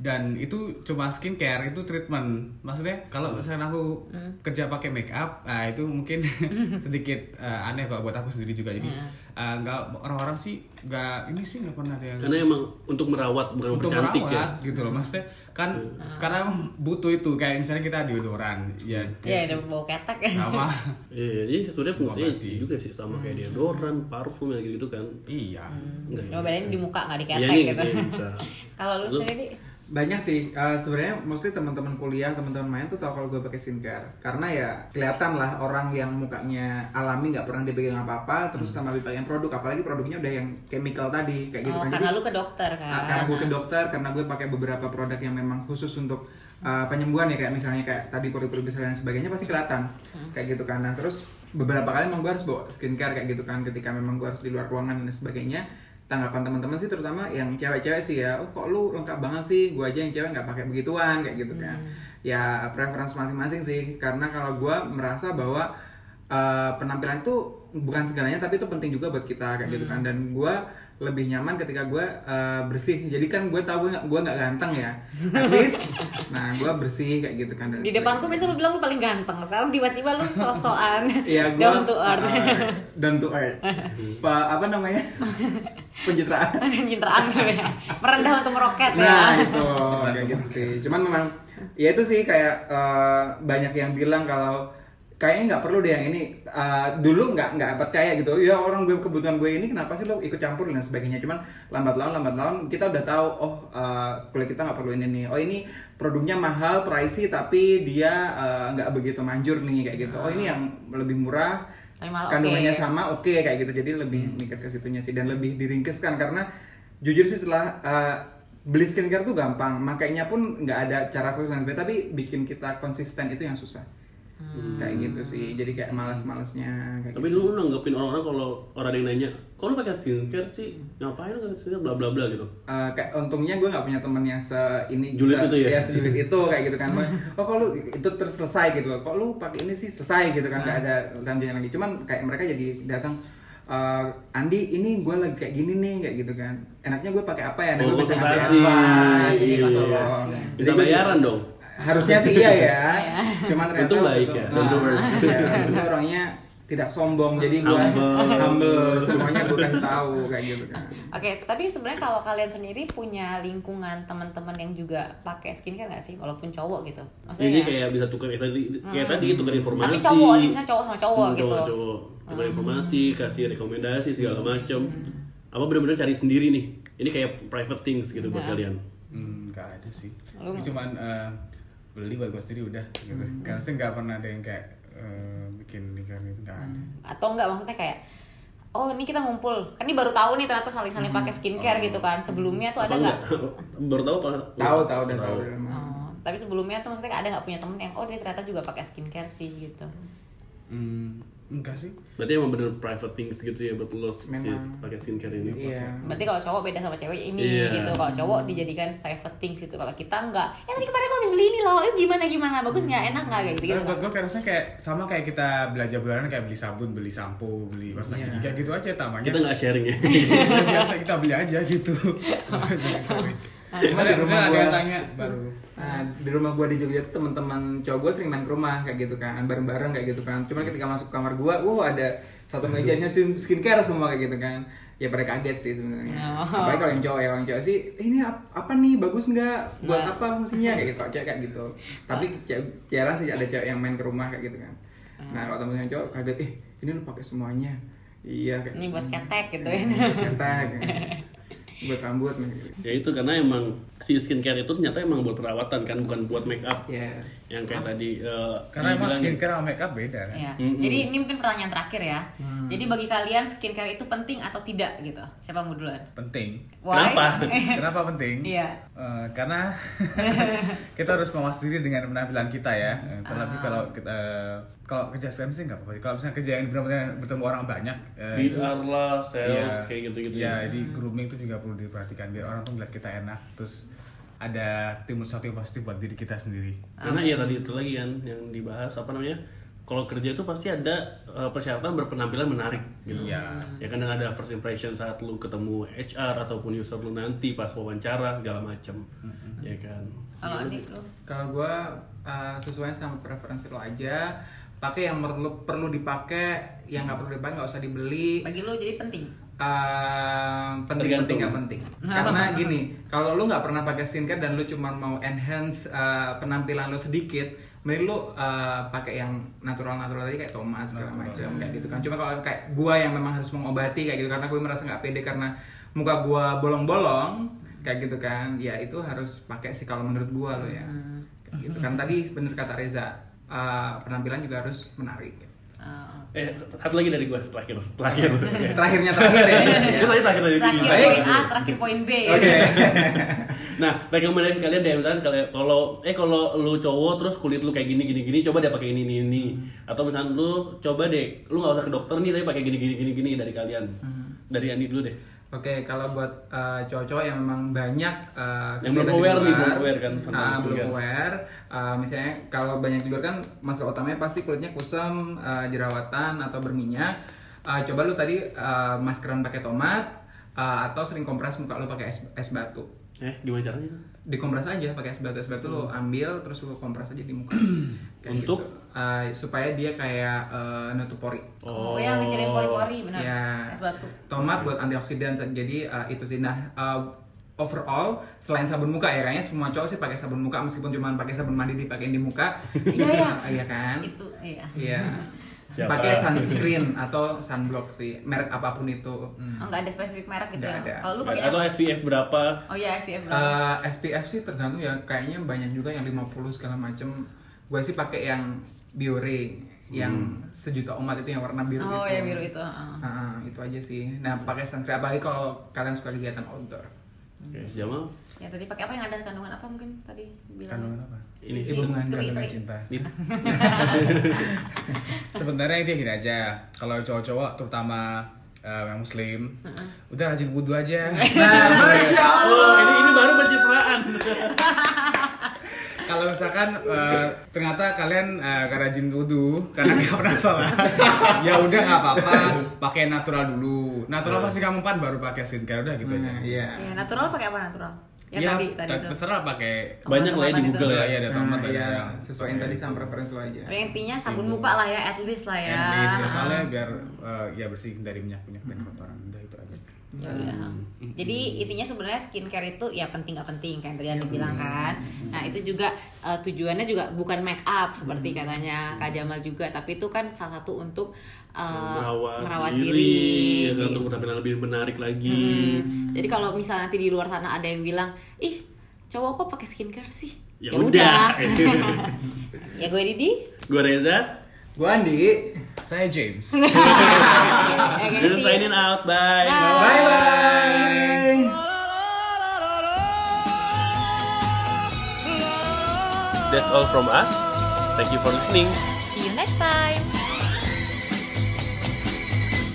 Speaker 4: Dan itu cuma skincare itu treatment. Maksudnya kalau misalnya aku kerja pakai make up, ah, itu mungkin sedikit eh, aneh kalau buat aku sendiri juga. Jadi eh, nggak orang-orang sih nggak ini sih nggak pernah ada yang
Speaker 3: Karena emang untuk merawat bukan
Speaker 4: untuk
Speaker 3: mempercantik ya.
Speaker 4: merawat gitu loh maksudnya kan karena butuh itu kayak misalnya kita deodoran ya
Speaker 2: Ya, ada bau ketek ya.
Speaker 4: sama
Speaker 3: Iya, jadi sebenarnya fungsinya
Speaker 4: Mengobati.
Speaker 3: juga sih sama kayak deodoran, parfum yang gitu kan.
Speaker 4: iya
Speaker 3: Enggak.
Speaker 2: Cuma bedanya Hmm. di muka nggak di
Speaker 3: Iya,
Speaker 2: ketek
Speaker 3: ini
Speaker 2: gitu.
Speaker 3: di muka.
Speaker 2: Kalau lu
Speaker 3: Lu-
Speaker 2: sendiri
Speaker 5: banyak sih Eh, sebenarnya mostly teman-teman kuliah teman-teman main tuh tahu kalau gue pakai skincare karena ya kelihatan lah orang yang mukanya alami nggak pernah dipegang apa-apa terus
Speaker 3: Hmm.
Speaker 5: tambah dipakai produk apalagi produknya udah yang chemical tadi kayak gitu
Speaker 2: Oh,
Speaker 5: kan
Speaker 2: karena
Speaker 5: Jadi-
Speaker 2: lu ke dokter
Speaker 5: Ah,
Speaker 2: kan.
Speaker 5: karena gue ke dokter karena gue pakai beberapa produk yang memang khusus untuk uh, penyembuhan ya kayak misalnya kayak tadi pori-pori besar dan sebagainya pasti kelihatan kayak gitu kan nah terus beberapa kali memang gue harus bawa skincare kayak gitu kan ketika memang gue harus di luar ruangan dan sebagainya tanggapan teman-teman sih terutama yang cewek-cewek sih ya oh kok lu lengkap banget sih gue aja yang cewek nggak pakai begituan kayak gitu kan ya preference masing-masing sih karena kalau gue merasa bahwa Uh, penampilan itu bukan segalanya tapi itu penting juga buat kita kayak gitu
Speaker 2: Hmm.
Speaker 5: kan dan gue lebih nyaman ketika gue uh, bersih jadi kan gue tahu gue nggak- gue nggak ganteng ya at least nah gue bersih kayak gitu kan dan
Speaker 2: Di depanku
Speaker 5: sebagainya.
Speaker 2: biasa lu bilang lu paling ganteng. Sekarang tiba-tiba lu sosokan
Speaker 5: Iya, gua,
Speaker 2: down to earth.
Speaker 5: uh, down to earth. Pa- apa namanya pencitraan
Speaker 2: Ada nyitraan kali ya. Merendah untuk meroket
Speaker 5: ah. Nah
Speaker 2: ya.
Speaker 5: itu kayak gitu sih. Cuman memang ya itu sih kayak eh, banyak yang bilang kalau kayaknya nggak perlu deh yang ini. Eh, dulu nggak nggak percaya gitu. Ya orang gue kebutuhan gue ini kenapa sih lo ikut campur dan sebagainya. Cuman lambat laun lambat laun kita udah tahu oh eh, kulit kita nggak perlu ini nih. Oh ini produknya mahal, pricey tapi dia eh, nggak begitu manjur nih kayak gitu. Oh ini yang lebih murah
Speaker 2: Tapi malah
Speaker 5: kandungannya
Speaker 2: oke.
Speaker 5: sama oke kayak gitu jadi lebih mikir ke situnya sih dan lebih diringkeskan karena jujur sih setelah uh, beli skincare tuh gampang makainya pun nggak ada cara khusus dan sebagainya, tapi bikin kita konsisten itu yang susah kayak gitu sih jadi kayak malas-malasnya kayak
Speaker 3: Tapi
Speaker 5: gitu.
Speaker 3: dulu lu nanggepin orang-orang kalau orang ada yang nanya, "Kok lu pakai skincare sih? Ngapain lu pakai skincare bla bla bla gitu?"
Speaker 5: Uh, kayak untungnya gue nggak punya temen yang se ini
Speaker 3: Julid
Speaker 5: se-
Speaker 3: itu ya?
Speaker 5: sejulid itu kayak gitu kan oh kalau lu itu terselesai gitu loh kok lu pakai ini sih selesai gitu kan nggak
Speaker 3: Ah.
Speaker 5: ada lanjutannya lagi cuman kayak mereka jadi datang "Eh, Andi ini gue lagi kayak gini nih kayak gitu kan enaknya gue pakai apa ya
Speaker 3: Oh,
Speaker 5: Dan gue bisa
Speaker 3: konsultasi.
Speaker 5: ngasih apa
Speaker 3: Iya,
Speaker 5: gitu
Speaker 2: jadi
Speaker 5: loh.
Speaker 2: konsultasi.
Speaker 5: Jadi
Speaker 3: Minta
Speaker 5: gue-
Speaker 3: bayaran dong.
Speaker 5: harusnya sih iya ya cuman ternyata
Speaker 3: Untung baik
Speaker 5: waktu itu-
Speaker 3: ya, don't
Speaker 5: Nah,
Speaker 3: worry.
Speaker 5: iya, gue orangnya tidak sombong jadi gue
Speaker 3: Humble.
Speaker 5: humble semuanya gue kasih tahu kayak gitu kan
Speaker 2: Oke, tapi sebenarnya kalau kalian sendiri punya lingkungan teman-teman yang juga pakai skincare nggak sih, walaupun cowok gitu? Maksudnya
Speaker 3: Jadi kayak bisa tukar kayak tadi kayak tadi tukar informasi.
Speaker 2: Tapi cowok, ini bisa cowok sama cowok
Speaker 3: Hmm,
Speaker 2: gitu. Hmm.
Speaker 3: Cowok, tukar informasi, kasih rekomendasi segala macam. Apa benar-benar cari sendiri nih? Ini kayak private things gitu
Speaker 2: Nah,
Speaker 3: buat kalian.
Speaker 4: Hmm, gak ada sih.
Speaker 2: Lu-
Speaker 4: Ini cuman eh, beli buat gue sendiri udah. Gitu. Gak sih gak pernah ada yang kayak eh, bikin nikah gitu gak ada.
Speaker 2: atau enggak maksudnya kayak oh ini kita ngumpul kan ini baru tahu nih ternyata saling saling pakai
Speaker 3: Hmm.
Speaker 2: skincare gitu kan sebelumnya tuh ada
Speaker 3: Apa
Speaker 2: nggak
Speaker 3: Baru tahu apa?
Speaker 5: tahu tahu dan tahu
Speaker 2: Oh, tapi sebelumnya tuh maksudnya ada nggak punya temen yang oh dia ternyata juga pakai skincare sih gitu
Speaker 4: Hmm, enggak sih.
Speaker 3: Berarti emang bener private things gitu ya buat lo sih
Speaker 5: Memang.
Speaker 3: pakai skincare ini.
Speaker 5: iya
Speaker 2: berarti kalau cowok beda sama cewek ini
Speaker 3: Iya.
Speaker 2: gitu kalau cowok dijadikan private things gitu kalau kita enggak ya tadi kemarin gue habis beli ini loh eh, gimana gimana bagus nggak enak nggak kayak gitu gitu
Speaker 4: Tapi buat gue kayak rasanya kayak sama kayak kita belanja bulanan kayak beli sabun, beli sampo, beli pasta
Speaker 5: Iya.
Speaker 4: gigi kayak gitu aja tamanya.
Speaker 3: Kita nggak sharing ya.
Speaker 4: Ya, biasa kita beli aja gitu. Sorry, sorry. Misalnya,
Speaker 5: Di rumah
Speaker 4: misalnya ada yang
Speaker 5: gua-
Speaker 4: tanya baru.
Speaker 5: Nah, di rumah gua di Jogja tuh teman-teman cowok gue sering main ke rumah kayak gitu kan, bareng-bareng kayak gitu kan. Cuman ketika masuk kamar gua, wow ada satu mejanya skin- skincare semua kayak gitu kan. Ya pada kaget sih sebenarnya.
Speaker 2: Oh.
Speaker 5: Apalagi kalau yang cowok ya, orang cowok sih, "Eh, ini ap- apa nih bagus nggak? Buat
Speaker 2: Nah.
Speaker 5: apa fungsinya kayak gitu, Kalau cewek kayak gitu. Tapi cewek- jarang sih ada cewek yang main ke rumah kayak gitu kan. Nah, kalau temen yang cowok kaget, eh
Speaker 3: Hmm.
Speaker 5: ini lu pakai semuanya. Iya kayak
Speaker 2: gitu ini buat ketek gitu ya
Speaker 5: Ketek. buat rambut gitu. nih.
Speaker 3: ya itu karena emang si skincare itu ternyata emang buat perawatan kan bukan buat make up
Speaker 5: Iya. Yes.
Speaker 3: yang kayak tadi eh,
Speaker 4: Karena emang
Speaker 3: dibilang-
Speaker 4: skincare sama makeup beda kan.
Speaker 2: Ya.
Speaker 3: Hmm.
Speaker 2: Jadi ini mungkin pertanyaan terakhir ya. Jadi bagi kalian skincare itu penting atau tidak gitu? Siapa mau duluan?
Speaker 4: Penting.
Speaker 2: Why?
Speaker 3: Kenapa?
Speaker 4: Kenapa penting?
Speaker 2: Iya.
Speaker 4: Eh, karena kita harus mawas diri dengan penampilan kita ya. Eh, Terlebih
Speaker 3: Ah.
Speaker 4: kalau kita eh, kalau kerja stem sih nggak apa-apa. Kalau misalnya kerja yang benar-benar bertemu orang banyak, eh, itu-
Speaker 3: PR lah, sales,
Speaker 4: Iya.
Speaker 3: kayak gitu-gitu ya. gitu. Hmm.
Speaker 4: Iya, jadi grooming itu juga perlu diperhatikan biar orang tuh melihat kita enak. Terus ada timbul sesuatu yang positif buat diri kita sendiri.
Speaker 3: Karena ya tadi itu lagi kan yang dibahas apa namanya? Kalau kerja itu pasti ada eh, persyaratan berpenampilan menarik gitu.
Speaker 4: Iya.
Speaker 3: Ya kadang ada first impression saat lu ketemu HR ataupun user lu nanti pas wawancara segala macam. Ya kan.
Speaker 2: Kalau Andi lu?
Speaker 5: Kalau gua uh, sesuai sama preferensi lo aja, pakai yang perlu perlu dipakai, yang nggak perlu dipakai nggak usah dibeli.
Speaker 2: Bagi lu jadi penting.
Speaker 5: Eh, penting
Speaker 3: Tergantung.
Speaker 5: penting nggak penting karena gini kalau lu nggak pernah pakai skincare dan lu cuma mau enhance eh, penampilan lu sedikit mending lu eh, pakai yang natural natural tadi kayak Thomas segala macam kayak gitu kan cuma kalau kayak gua yang memang harus mengobati kayak gitu karena gue merasa nggak pede karena muka gua bolong-bolong kayak gitu kan ya itu harus pakai sih kalau menurut gua lo ya kayak gitu kan tadi bener kata Reza eh, penampilan juga harus menarik
Speaker 2: Ah, oke.
Speaker 3: Eh, satu lagi dari gue terakhir. Terakhir. Iya.
Speaker 5: terakhirnya terakhir ya
Speaker 3: Itu tadi terakhir dari Didi.
Speaker 2: Terakhir poin A, terakhir poin B.
Speaker 5: oke
Speaker 3: Nah, rekomendasi kalian deh misalkan kalian kalau eh kalau lu cowok terus kulit lu kayak gini gini gini coba deh pakai ini ini ini
Speaker 2: Hmm.
Speaker 3: atau misalkan lu coba deh lu nggak usah ke dokter nih tapi pakai gini gini gini gini dari kalian.
Speaker 2: Hmm.
Speaker 3: Dari Andi dulu deh.
Speaker 5: Oke, kalau buat uh, cowok-cowok yang memang banyak uh,
Speaker 3: Yang
Speaker 5: kegiatan
Speaker 3: belum aware
Speaker 5: di
Speaker 3: nih,
Speaker 5: luar,
Speaker 3: belum aware kan tentang
Speaker 5: ah, belum
Speaker 3: skincare.
Speaker 5: aware. Uh, misalnya kalau banyak di luar kan masalah utamanya pasti kulitnya kusam, uh, jerawatan atau berminyak. Uh, coba lu tadi uh, maskeran pakai tomat uh, atau sering kompres muka lu pakai es, es batu.
Speaker 3: Eh, gimana caranya?
Speaker 5: Dikompres aja pakai es batu, es batu lu ambil terus lu kompres aja di muka. Kayak
Speaker 3: Hmm. Untuk?
Speaker 5: gitu. Uh, supaya dia kayak uh, nutup pori.
Speaker 2: Oh, yang ngecilin pori-pori benar.
Speaker 4: Iya.
Speaker 5: Ya.
Speaker 2: Es batu.
Speaker 5: Tomat buat antioksidan jadi uh, itu sih nah uh, overall selain sabun muka ya kayaknya semua cowok sih pakai sabun muka meskipun cuma pakai sabun mandi dipakein di muka.
Speaker 2: Iya, iya.
Speaker 5: Iya kan?
Speaker 2: Itu iya.
Speaker 5: Iya.
Speaker 3: Siapa?
Speaker 5: Pakai sunscreen atau sunblock sih, merek apapun itu. Hmm.
Speaker 4: Hmm.
Speaker 2: Oh, enggak ada spesifik merek gitu
Speaker 5: Nggak ada.
Speaker 2: ya. Kalau lu pakai
Speaker 3: Atau
Speaker 2: apa?
Speaker 3: SPF berapa?
Speaker 2: Oh iya, SPF. berapa?
Speaker 4: Eh,
Speaker 5: Uh, SPF sih tergantung ya kayaknya banyak juga yang 50 segala macem. Gue sih pakai yang Biore yang sejuta umat itu yang warna biru
Speaker 2: Oh
Speaker 4: gitu.
Speaker 5: itu.
Speaker 2: ya biru itu. ah.
Speaker 5: Ah, itu aja sih. Nah, pakai sunscreen apalagi kalau kalian suka kegiatan outdoor.
Speaker 3: Oke, si Jamal.
Speaker 2: Ya tadi pakai apa yang ada kandungan apa mungkin tadi bilang?
Speaker 4: Kandungan apa?
Speaker 3: Ini sih.
Speaker 5: Hubungan
Speaker 2: Tri,
Speaker 5: kandungan
Speaker 2: tri.
Speaker 4: Cinta.
Speaker 3: Dit.
Speaker 4: Sebenarnya dia gini aja. Kalau cowok-cowok terutama eh, yang muslim,
Speaker 3: Hmm.
Speaker 4: udah rajin wudhu aja.
Speaker 3: Oh, ini ini baru pencitraan.
Speaker 4: Kalau misalkan eh, ternyata kalian eh, gak rajin wudhu karena gak pernah sholat, ya udah nggak apa-apa, pakai natural dulu. Natural pasti kamu pan baru pakai skincare udah gitu aja. Ya,
Speaker 5: Iya.
Speaker 2: Ya natural pakai apa natural? Yang Ya, tadi tadi
Speaker 4: ter-
Speaker 2: itu.
Speaker 4: terserah pakai
Speaker 3: Banyak lah ya di
Speaker 2: Tomat-tomatan
Speaker 3: Google ya.
Speaker 4: Iya, ada
Speaker 5: Nah,
Speaker 4: tomat
Speaker 5: iya,
Speaker 4: ada.
Speaker 5: sesuaiin tadi sama preferensi lo aja.
Speaker 2: Tapi intinya sabun muka lah ya, at least lah ya.
Speaker 4: Iya. At least, ya, soalnya biar eh, ya bersih dari minyak-minyak
Speaker 5: Hmm.
Speaker 4: dan kotoran. Udah itu aja.
Speaker 3: Hmm.
Speaker 2: Ya udah. Jadi intinya sebenarnya skincare itu ya penting gak penting kayak tadi
Speaker 3: Hmm.
Speaker 2: Anda bilang kan. Nah itu juga eh, tujuannya juga bukan make up
Speaker 3: Hmm.
Speaker 2: seperti katanya Kak Jamal juga, tapi itu kan salah satu untuk eh,
Speaker 3: Merawat,
Speaker 2: merawat
Speaker 3: Oh, diri,
Speaker 2: diri. gitu.
Speaker 3: ya kan, untuk penampilan lebih menarik lagi.
Speaker 2: Hmm. Jadi kalau misalnya nanti di luar sana ada yang bilang, ih cowok kok pakai skincare sih?
Speaker 3: Ya udah.
Speaker 2: ya gue Didi.
Speaker 3: Gue Reza.
Speaker 5: Gua Andi.
Speaker 4: Saya James.
Speaker 2: Oke,
Speaker 3: This is
Speaker 2: Ya, see you.
Speaker 3: signing out.
Speaker 2: Bye.
Speaker 3: Bye.
Speaker 5: Bye bye.
Speaker 3: That's all from us. Thank you for listening.
Speaker 2: See you next time.